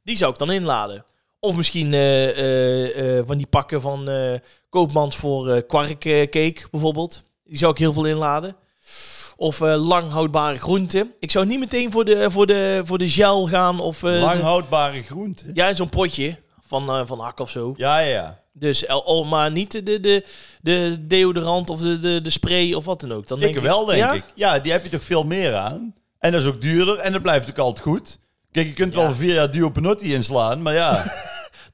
Speaker 1: Die zou ik dan inladen. Of misschien eh, eh, eh, van die pakken van eh, Koopmans voor eh kwarkcake bijvoorbeeld. Die zou ik heel veel inladen. Of eh, lang houdbare groenten. Ik zou niet meteen voor de, voor de, voor de gel gaan. Of, eh,
Speaker 2: Lang
Speaker 1: de-
Speaker 2: houdbare groenten.
Speaker 1: ja, in zo'n potje van, eh, van hak of zo.
Speaker 2: Ja, ja, ja.
Speaker 1: Dus eh, oh, maar niet de, de, de, de deodorant of de, de, de spray of wat dan ook. Dan denk
Speaker 2: Ik wel, denk
Speaker 1: ja?
Speaker 2: ik. Ja, die heb je toch veel meer aan. En dat is ook duurder en dat blijft ook altijd goed. Kijk, je kunt
Speaker 1: Ja.
Speaker 2: wel vier jaar duo penotti inslaan, maar ja,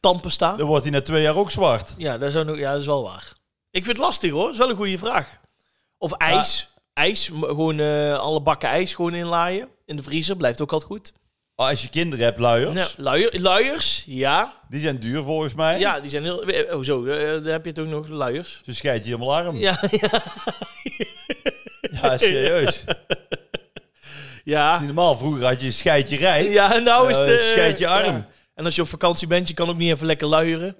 Speaker 1: Tandpasta.
Speaker 2: dan wordt hij na twee jaar ook zwart.
Speaker 1: Ja, dat is, ook nog- ja, dat is wel waar. Ik vind het lastig hoor. Dat is wel een goede vraag. Of ijs. Ijs. m- Gewoon eh, alle bakken ijs gewoon inlaaien. In de vriezer blijft ook altijd goed.
Speaker 2: Oh, Als je kinderen hebt, luiers,
Speaker 1: Ja, luier, luiers. Ja.
Speaker 2: die zijn duur volgens mij.
Speaker 1: Ja, die zijn heel... eh, Oh zo, eh, daar heb je het ook nog. Luiers.
Speaker 2: Ze scheidt je helemaal arm. Ja,
Speaker 1: Ja, ja,
Speaker 2: serieus. Dat is niet
Speaker 1: ja.
Speaker 2: normaal. Vroeger had je scheid je rij.
Speaker 1: Ja, en nou is
Speaker 2: Eh,
Speaker 1: het... eh,
Speaker 2: scheid je arm.
Speaker 1: ja. En als je op vakantie bent, je kan ook niet even lekker luieren.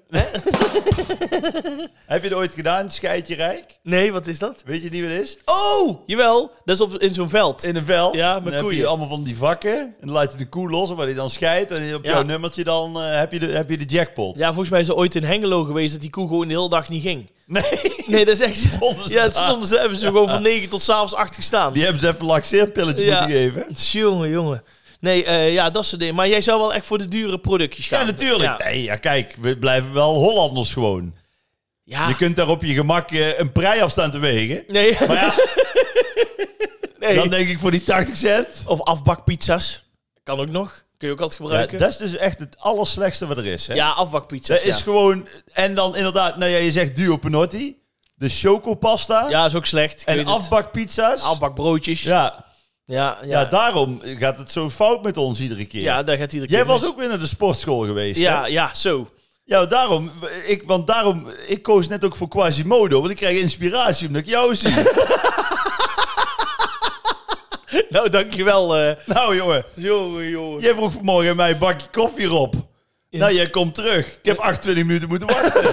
Speaker 2: Heb je dat ooit gedaan, scheid je rijk?
Speaker 1: Nee, wat is dat?
Speaker 2: Weet je niet wat het is?
Speaker 1: Oh, jawel. Dat is op, in zo'n veld.
Speaker 2: In een veld.
Speaker 1: Ja,
Speaker 2: dan
Speaker 1: met
Speaker 2: heb je
Speaker 1: koeien.
Speaker 2: allemaal van die vakken. En dan laat je de koe los waar die dan scheidt. En op
Speaker 1: Ja.
Speaker 2: jouw nummertje dan eh, heb, je de, heb je de jackpot.
Speaker 1: Ja, volgens mij is er ooit in Hengelo geweest dat die koe gewoon de hele dag niet ging.
Speaker 2: Nee,
Speaker 1: Nee, dat is echt...
Speaker 2: stonden ze
Speaker 1: Ja, het
Speaker 2: daar.
Speaker 1: soms hebben ze gewoon van 9 tot s'avonds 8 gestaan.
Speaker 2: Die hebben ze even een laxeerpilletje
Speaker 1: Ja.
Speaker 2: moeten geven.
Speaker 1: Jongen, jongen. Nee, eh, ja, dat soort dingen. Maar jij zou wel echt voor de dure productjes gaan.
Speaker 2: Ja, natuurlijk.
Speaker 1: Ja,
Speaker 2: Nee, ja, kijk, we blijven wel Hollanders gewoon.
Speaker 1: Ja.
Speaker 2: Je kunt daar op je gemak eh, een prij af staan te wegen.
Speaker 1: nee.
Speaker 2: Maar ja,
Speaker 1: nee.
Speaker 2: dan denk ik voor die 80 cent.
Speaker 1: Of afbakpizza's. Kan ook nog. Kun je ook altijd
Speaker 2: Ja,
Speaker 1: gebruiken. Ja,
Speaker 2: dat is dus echt het allerslechtste wat er is. Hè?
Speaker 1: afbakpizza's.
Speaker 2: dat is
Speaker 1: Dus ja.
Speaker 2: gewoon... En dan inderdaad, nou ja, je zegt duo penotti. De chocopasta.
Speaker 1: ja, is ook slecht. Ik
Speaker 2: en
Speaker 1: weet het.
Speaker 2: afbakpizza's.
Speaker 1: afbakbroodjes. Ja,
Speaker 2: ja,
Speaker 1: ja, ja.
Speaker 2: ja. daarom gaat het zo fout met ons iedere keer.
Speaker 1: daar gaat iedereen.
Speaker 2: Jij was ook weer naar de sportschool geweest. hè?
Speaker 1: Ja, ja, zo.
Speaker 2: Ja, daarom. Ik, want daarom, ik koos net ook voor Quasimodo, want ik krijg inspiratie omdat ik jou zie.
Speaker 1: Nou, dankjewel. eh
Speaker 2: nou jongen,
Speaker 1: jongen, jongen.
Speaker 2: jij vroeg vanmorgen aan mij een bakje koffie Rob. Nou, jij komt terug. Ik heb 28 minuten moeten wachten.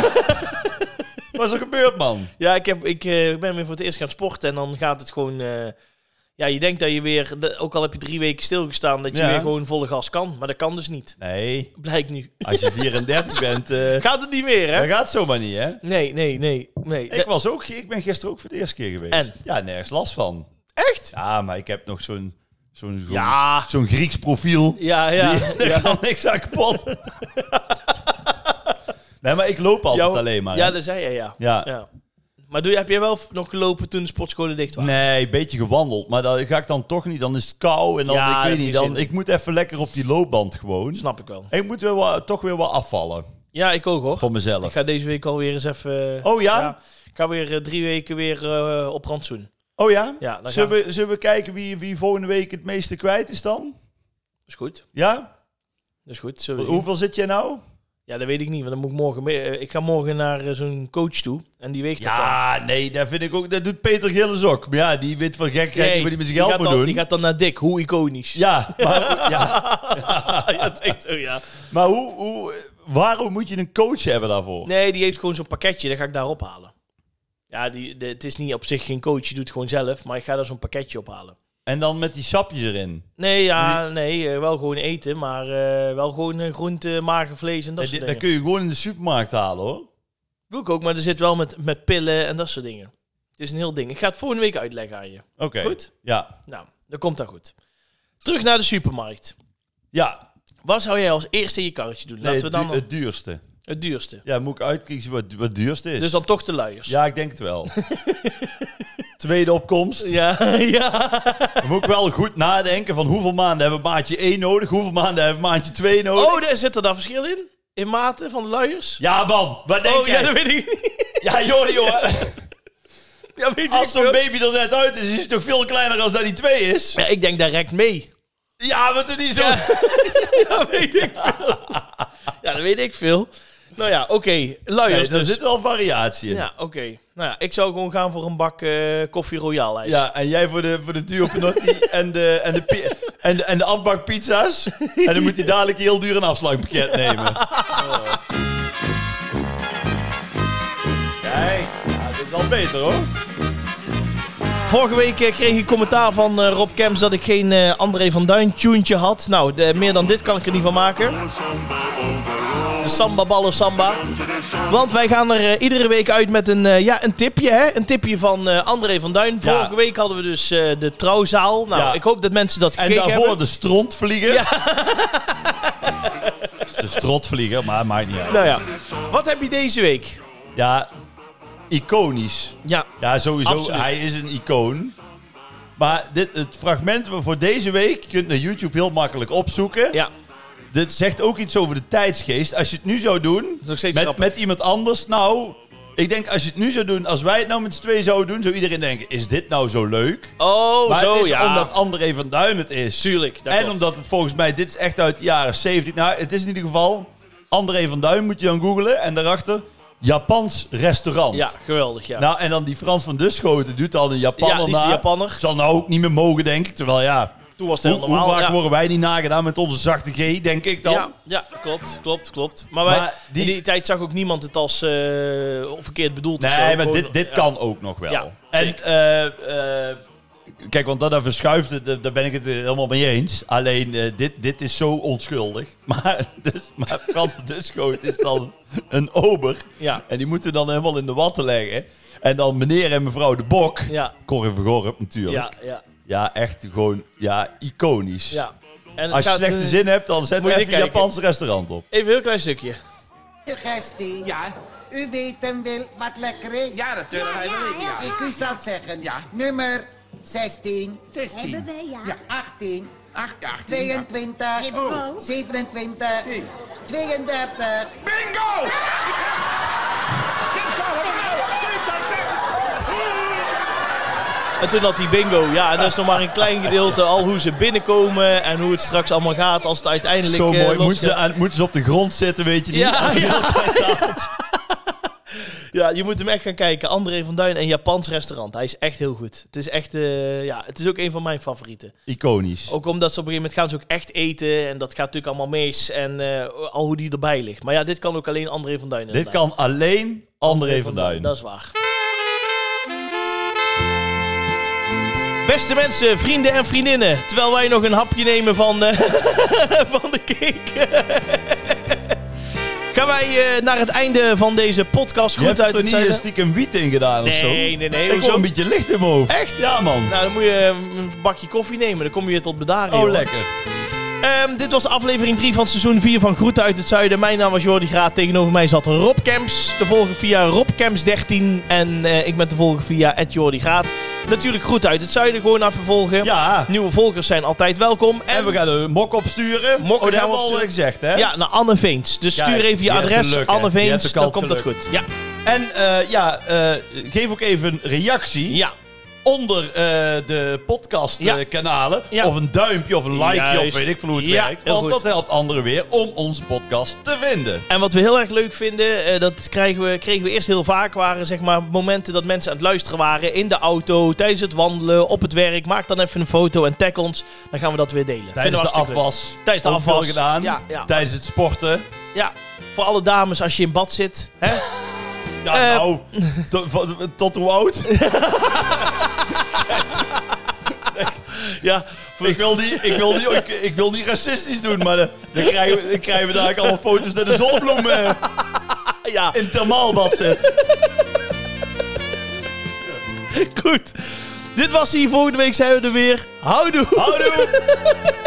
Speaker 2: Wat is er gebeurd, man?
Speaker 1: Ja, ik, heb, ik eh, ben weer voor het eerst gaan sporten en dan gaat het gewoon... eh, ja, je denkt dat je weer, dat- ook al heb je drie weken stilgestaan, dat je
Speaker 2: Ja.
Speaker 1: weer gewoon volle gas kan. Maar dat kan dus niet.
Speaker 2: Nee,
Speaker 1: Blijkt nu.
Speaker 2: als je 34 bent, eh
Speaker 1: Gaat het niet meer,
Speaker 2: dat
Speaker 1: hè?
Speaker 2: gaat zomaar niet, hè?
Speaker 1: Nee, nee, nee, nee.
Speaker 2: Ik, was ook, ik ben gisteren ook voor het eerste keer geweest.
Speaker 1: En?
Speaker 2: Ja, nergens last van.
Speaker 1: Echt?
Speaker 2: Ja, maar ik heb nog zo'n zo'n zo'n
Speaker 1: Ja.
Speaker 2: zo'n Grieks profiel.
Speaker 1: Ja, ja.
Speaker 2: Die- Daar
Speaker 1: ja.
Speaker 2: kan niks aan kapot. nee, maar ik loop altijd
Speaker 1: Jou-
Speaker 2: alleen maar. hè.
Speaker 1: Ja, dat zei je, ja.
Speaker 2: Ja.
Speaker 1: ja. Maar doe, je- heb jij wel f- nog gelopen toen de sportscholen dicht waren?
Speaker 2: Nee, een beetje gewandeld. Maar dan ga ik dan toch niet. Dan is het kou. En dan,
Speaker 1: Ja,
Speaker 2: ik
Speaker 1: dat
Speaker 2: weet niet.
Speaker 1: heb je
Speaker 2: Dan,
Speaker 1: zin.
Speaker 2: ik moet even lekker op die loopband gewoon.
Speaker 1: Snap ik wel.
Speaker 2: En ik moet weer wat, toch weer wat afvallen.
Speaker 1: Ja, ik ook, hoor.
Speaker 2: Voor
Speaker 1: Ik
Speaker 2: mezelf.
Speaker 1: ga deze week alweer eens even... eh,
Speaker 2: Oh ja?
Speaker 1: Ik ga weer eh, drie weken weer eh, op rantsoen.
Speaker 2: Oh ja?
Speaker 1: Ja, dan
Speaker 2: zullen,
Speaker 1: gaan
Speaker 2: we, zullen we kijken wie, wie volgende week het meeste kwijt is dan?
Speaker 1: Is goed.
Speaker 2: Ja?
Speaker 1: Is goed. Zullen we
Speaker 2: Wat-
Speaker 1: zien.
Speaker 2: Hoeveel zit jij nou?
Speaker 1: Ja, dat weet ik niet, want dan moet ik morgen mee. eh, Ik ga morgen naar eh, zo'n coach toe en die weegt dat dan.
Speaker 2: Ja, nee, dat vind ik ook. Dat doet Peter Gilles ook. Maar ja, die weet van gek
Speaker 1: Nee,
Speaker 2: gek wat hij met zijn geld
Speaker 1: gaat
Speaker 2: moet
Speaker 1: dan,
Speaker 2: doen.
Speaker 1: Die gaat dan naar Dick, hoe iconisch.
Speaker 2: Ja, maar, ja,
Speaker 1: ja dat is echt zo, ja.
Speaker 2: Maar hoe, hoe, waarom moet je een coach hebben daarvoor?
Speaker 1: Nee, die heeft gewoon zo'n pakketje, dat ga ik daar ophalen. Ja, die, de- het is niet op zich geen coach, je doet het gewoon zelf, maar ik ga daar zo'n pakketje ophalen.
Speaker 2: En dan met die sapjes erin.
Speaker 1: Nee, ja, nee, eh, wel gewoon eten, maar eh, wel gewoon eh, groente, magenvlees en dat
Speaker 2: Dat,
Speaker 1: soort
Speaker 2: dat
Speaker 1: dingen.
Speaker 2: Eh, kun je gewoon in de supermarkt halen hoor.
Speaker 1: Doe ik ook, maar er zit wel met, met pillen en dat soort dingen. Het is een heel ding. Ik ga het volgende week uitleggen aan je.
Speaker 2: Oké.
Speaker 1: Goed?
Speaker 2: Ja.
Speaker 1: Nou, dan komt dat goed. Terug naar de supermarkt.
Speaker 2: Ja,
Speaker 1: Wat zou jij als eerste in je karretje doen? Laten
Speaker 2: nee,
Speaker 1: we
Speaker 2: het,
Speaker 1: dan
Speaker 2: du- het duurste.
Speaker 1: het duurste.
Speaker 2: Ja, moet ik uitkiezen wat, wat het duurste is.
Speaker 1: Dus dan toch de luiers.
Speaker 2: Ja, ik denk het wel. Tweede opkomst.
Speaker 1: ja, ja.
Speaker 2: Dan moet ik wel goed nadenken van hoeveel maanden hebben we maandje 1 nodig, hoeveel maanden hebben we maandje 2 nodig.
Speaker 1: Oh, daar zit er daar verschil in? In mate van de luiers?
Speaker 2: Ja man, wat denk
Speaker 1: oh, ja,
Speaker 2: jij?
Speaker 1: dat weet ik niet.
Speaker 2: Ja joh, joh.
Speaker 1: Ja, weet ik
Speaker 2: Als zo'n
Speaker 1: veel.
Speaker 2: baby er net uit is, is hij toch veel kleiner als dat die 2 is?
Speaker 1: Ja, ik denk direct mee.
Speaker 2: Ja, dus wat er niet zo...
Speaker 1: Ja, weet ik veel. Ja, dat weet ik veel. Nou ja, oké. Luiers
Speaker 2: Nee, daar
Speaker 1: dus.
Speaker 2: zit wel variatie in. Ja.
Speaker 1: Ja, oké. Nou ja, ik zou gewoon gaan voor een bak eh, koffie royale ijs.
Speaker 2: en jij voor de, voor de duur panotti en de, en, de, pi- en, de, en de afbakpizza's. En dan moet hij dadelijk heel duur een afslagpakket nemen. Kijk, nou, dit is al beter hoor.
Speaker 1: Vorige week eh, kreeg ik commentaar van eh, Rob Kems dat ik geen eh, André van Duin tuentje had. Nou, de- meer dan dit kan ik er niet van maken. De samba ballen samba. Want wij gaan er eh, iedere week uit met een, eh, ja, een tipje. Hè? Een tipje van eh, André van Duin.
Speaker 2: Ja.
Speaker 1: Vorige week hadden we dus eh, de trouwzaal. Nou,
Speaker 2: Ja.
Speaker 1: ik hoop dat mensen dat
Speaker 2: En
Speaker 1: gekeken
Speaker 2: daarvoor
Speaker 1: hebben.
Speaker 2: de strontvlieger. de strontvlieger, maar maakt niet uit.
Speaker 1: Nou ja. Wat heb je deze week?
Speaker 2: Ja, iconisch.
Speaker 1: Ja,
Speaker 2: Ja, sowieso.
Speaker 1: Absoluut.
Speaker 2: Hij is een icoon. Maar dit, het fragment voor deze week, je kunt naar YouTube heel makkelijk opzoeken.
Speaker 1: ja.
Speaker 2: Dit zegt ook iets over de tijdsgeest. Als je het nu zou doen,
Speaker 1: nog steeds
Speaker 2: met,
Speaker 1: grappig.
Speaker 2: met iemand anders, nou... Ik denk, als je het nu zou doen, als wij het nou met z'n tweeën zouden doen, zou iedereen denken, is dit nou zo leuk?
Speaker 1: Oh,
Speaker 2: maar
Speaker 1: zo
Speaker 2: het is
Speaker 1: ja.
Speaker 2: omdat André van Duin het is.
Speaker 1: Tuurlijk. dat
Speaker 2: en
Speaker 1: klopt.
Speaker 2: omdat het volgens mij, dit is echt uit de jaren 70. Nou, het is in ieder geval, André van Duin moet je dan googlen. En daarachter, Japans restaurant.
Speaker 1: Ja, geweldig. Ja.
Speaker 2: Nou, en dan die Frans van Duschoten doet al een Japaner
Speaker 1: Ja, die is
Speaker 2: na.
Speaker 1: een Japanner.
Speaker 2: Zal nou ook niet meer mogen, denk ik. Terwijl ja,
Speaker 1: Toen was het
Speaker 2: hoe,
Speaker 1: heel
Speaker 2: hoe
Speaker 1: normaal.
Speaker 2: vaak
Speaker 1: ja.
Speaker 2: worden wij niet nagedaan met onze zachte G, denk ik dan.
Speaker 1: Ja, ja, klopt, klopt, klopt. Maar, wij,
Speaker 2: Maar die-
Speaker 1: in die tijd zag ook niemand het als eh, verkeerd bedoeld. of zo.
Speaker 2: Nee, maar
Speaker 1: Gewoon-
Speaker 2: dit, dit
Speaker 1: ja.
Speaker 2: kan ook nog wel.
Speaker 1: Ja,
Speaker 2: en
Speaker 1: zeker.
Speaker 2: eh, eh, kijk, want dat daar verschuift, het, daar ben ik het eh, helemaal mee eens. Alleen, eh, dit, dit is zo onschuldig. Maar, dus, maar Frans van Duschoten is dan een ober.
Speaker 1: Ja,
Speaker 2: En die moeten dan helemaal in de watten leggen. En dan meneer en mevrouw de Bok.
Speaker 1: ja,
Speaker 2: Corrie Vergorp natuurlijk.
Speaker 1: ja, ja.
Speaker 2: Ja, echt gewoon ja, iconisch.
Speaker 1: ja. En het
Speaker 2: Als je
Speaker 1: gaat,
Speaker 2: slechte
Speaker 1: eh,
Speaker 2: zin hebt, dan zet
Speaker 1: moet
Speaker 2: we
Speaker 1: je
Speaker 2: even
Speaker 1: dit
Speaker 2: een
Speaker 1: kijken.
Speaker 2: Japans restaurant op.
Speaker 1: Even een heel klein stukje.
Speaker 3: Suggestie.
Speaker 4: Ja,
Speaker 3: U weet hem wel wat lekker is.
Speaker 4: ja, natuurlijk. Ja, ja, ja.
Speaker 3: Ik u zal zeggen.
Speaker 4: Ja.
Speaker 3: Nummer 16,
Speaker 4: 16.
Speaker 5: Hebben we, ja.
Speaker 3: 18,
Speaker 4: 8, 8,
Speaker 3: 22,
Speaker 5: Hebben we ook.
Speaker 3: 27, 32.
Speaker 4: Bingo! Ik zou het wel weten,
Speaker 1: En toen had hij bingo. Ja, en dat is nog maar een klein gedeelte al hoe ze binnenkomen en hoe het straks allemaal gaat als het uiteindelijk...
Speaker 2: Zo
Speaker 1: eh,
Speaker 2: mooi.
Speaker 1: los-
Speaker 2: Moeten ze, aan, moeten ze op de grond zitten, weet je niet?
Speaker 1: Ja, ja. ja, je moet hem echt gaan kijken. André van Duin en Japans restaurant. Hij is echt heel goed. Het is echt, eh, ja, het is ook een van mijn favorieten.
Speaker 2: Iconisch.
Speaker 1: Ook omdat ze op een gegeven moment gaan ze ook echt eten. En dat gaat natuurlijk allemaal mis. En eh, al hoe die erbij ligt. Maar ja, dit kan ook alleen André van Duin.
Speaker 2: Dit
Speaker 1: inderdaad.
Speaker 2: kan alleen André van Duin.
Speaker 1: Dat is waar. Beste mensen, vrienden en vriendinnen. Terwijl wij nog een hapje nemen van, eh, van de cake. gaan wij eh, naar het einde van deze podcast.
Speaker 2: Je hebt
Speaker 1: Goed uit
Speaker 2: er
Speaker 1: het
Speaker 2: niet
Speaker 1: zuiden.
Speaker 2: een stiekem wiet in gedaan of zo?
Speaker 1: Nee, nee, nee.
Speaker 2: Ik
Speaker 1: hoezo?
Speaker 2: hoor een beetje licht in mijn hoofd.
Speaker 1: Echt?
Speaker 2: Ja, man.
Speaker 1: Nou, dan moet je eh, een bakje koffie nemen. Dan kom je weer tot bedaren.
Speaker 2: oh,
Speaker 1: joh.
Speaker 2: lekker.
Speaker 1: Ehm, dit was aflevering 3 van seizoen 4 van Groeten uit het Zuiden. Mijn naam was Jordi Graat. Tegenover mij zat Rob Kemps. Te volgen via RobKemps13. En eh, ik ben te volgen via Jordi Graat. Natuurlijk Groeten uit het Zuiden. Gewoon even volgen.
Speaker 2: Ja.
Speaker 1: Nieuwe volgers zijn altijd welkom. En,
Speaker 2: En we gaan een mok opsturen.
Speaker 1: Mok
Speaker 2: oh, dat
Speaker 1: gaan
Speaker 2: hebben
Speaker 1: we
Speaker 2: we al
Speaker 1: opsturen.
Speaker 2: gezegd, hè?
Speaker 1: ja, naar Anne Veens. Dus
Speaker 2: Kijk,
Speaker 1: stuur even je
Speaker 2: die hebt
Speaker 1: adres,
Speaker 2: geluk, hè.
Speaker 1: Anne
Speaker 2: Die
Speaker 1: Veens.
Speaker 2: hebt ook
Speaker 1: Dan
Speaker 2: al
Speaker 1: komt dat
Speaker 2: geluk.
Speaker 1: goed. Ja,
Speaker 2: En eh, ja, eh, geef ook even een reactie.
Speaker 1: ja.
Speaker 2: onder eh, de
Speaker 1: Ja.
Speaker 2: podcastkanalen.
Speaker 1: Ja.
Speaker 2: Of een duimpje of een likeje
Speaker 1: Juist.
Speaker 2: of weet ik veel hoe het
Speaker 1: Ja,
Speaker 2: werkt.
Speaker 1: heel
Speaker 2: Want
Speaker 1: goed.
Speaker 2: dat helpt anderen weer om onze podcast te vinden.
Speaker 1: En wat we heel erg leuk vinden, eh, dat krijgen we, kregen we eerst heel vaak, waren zeg maar momenten dat mensen aan het luisteren waren in de auto, tijdens het wandelen, op het werk. Maak dan even een foto en tag ons, dan gaan we dat weer delen.
Speaker 2: Tijdens
Speaker 1: Vinden we
Speaker 2: de
Speaker 1: hartstikke leuk.
Speaker 2: afwas.
Speaker 1: Tijdens de
Speaker 2: Ook veel
Speaker 1: afwas.
Speaker 2: gedaan.
Speaker 1: Ja, ja.
Speaker 2: Tijdens het sporten.
Speaker 1: Ja, voor alle dames als je in bad zit. Hè?
Speaker 2: Ja,
Speaker 1: Eh.
Speaker 2: nou, to- van- tot hoe oud?
Speaker 1: Ja,
Speaker 2: ik, wil die, ik, wil die, ik, ik wil niet racistisch doen, maar dan, dan krijgen we, dan krijgen we dadelijk allemaal foto's dat de zonnebloem eh,
Speaker 1: ja,
Speaker 2: in het thermaalbad zit.
Speaker 1: goed. Dit was hij. Volgende week zijn we er weer. Houdoe!
Speaker 2: Houdoe!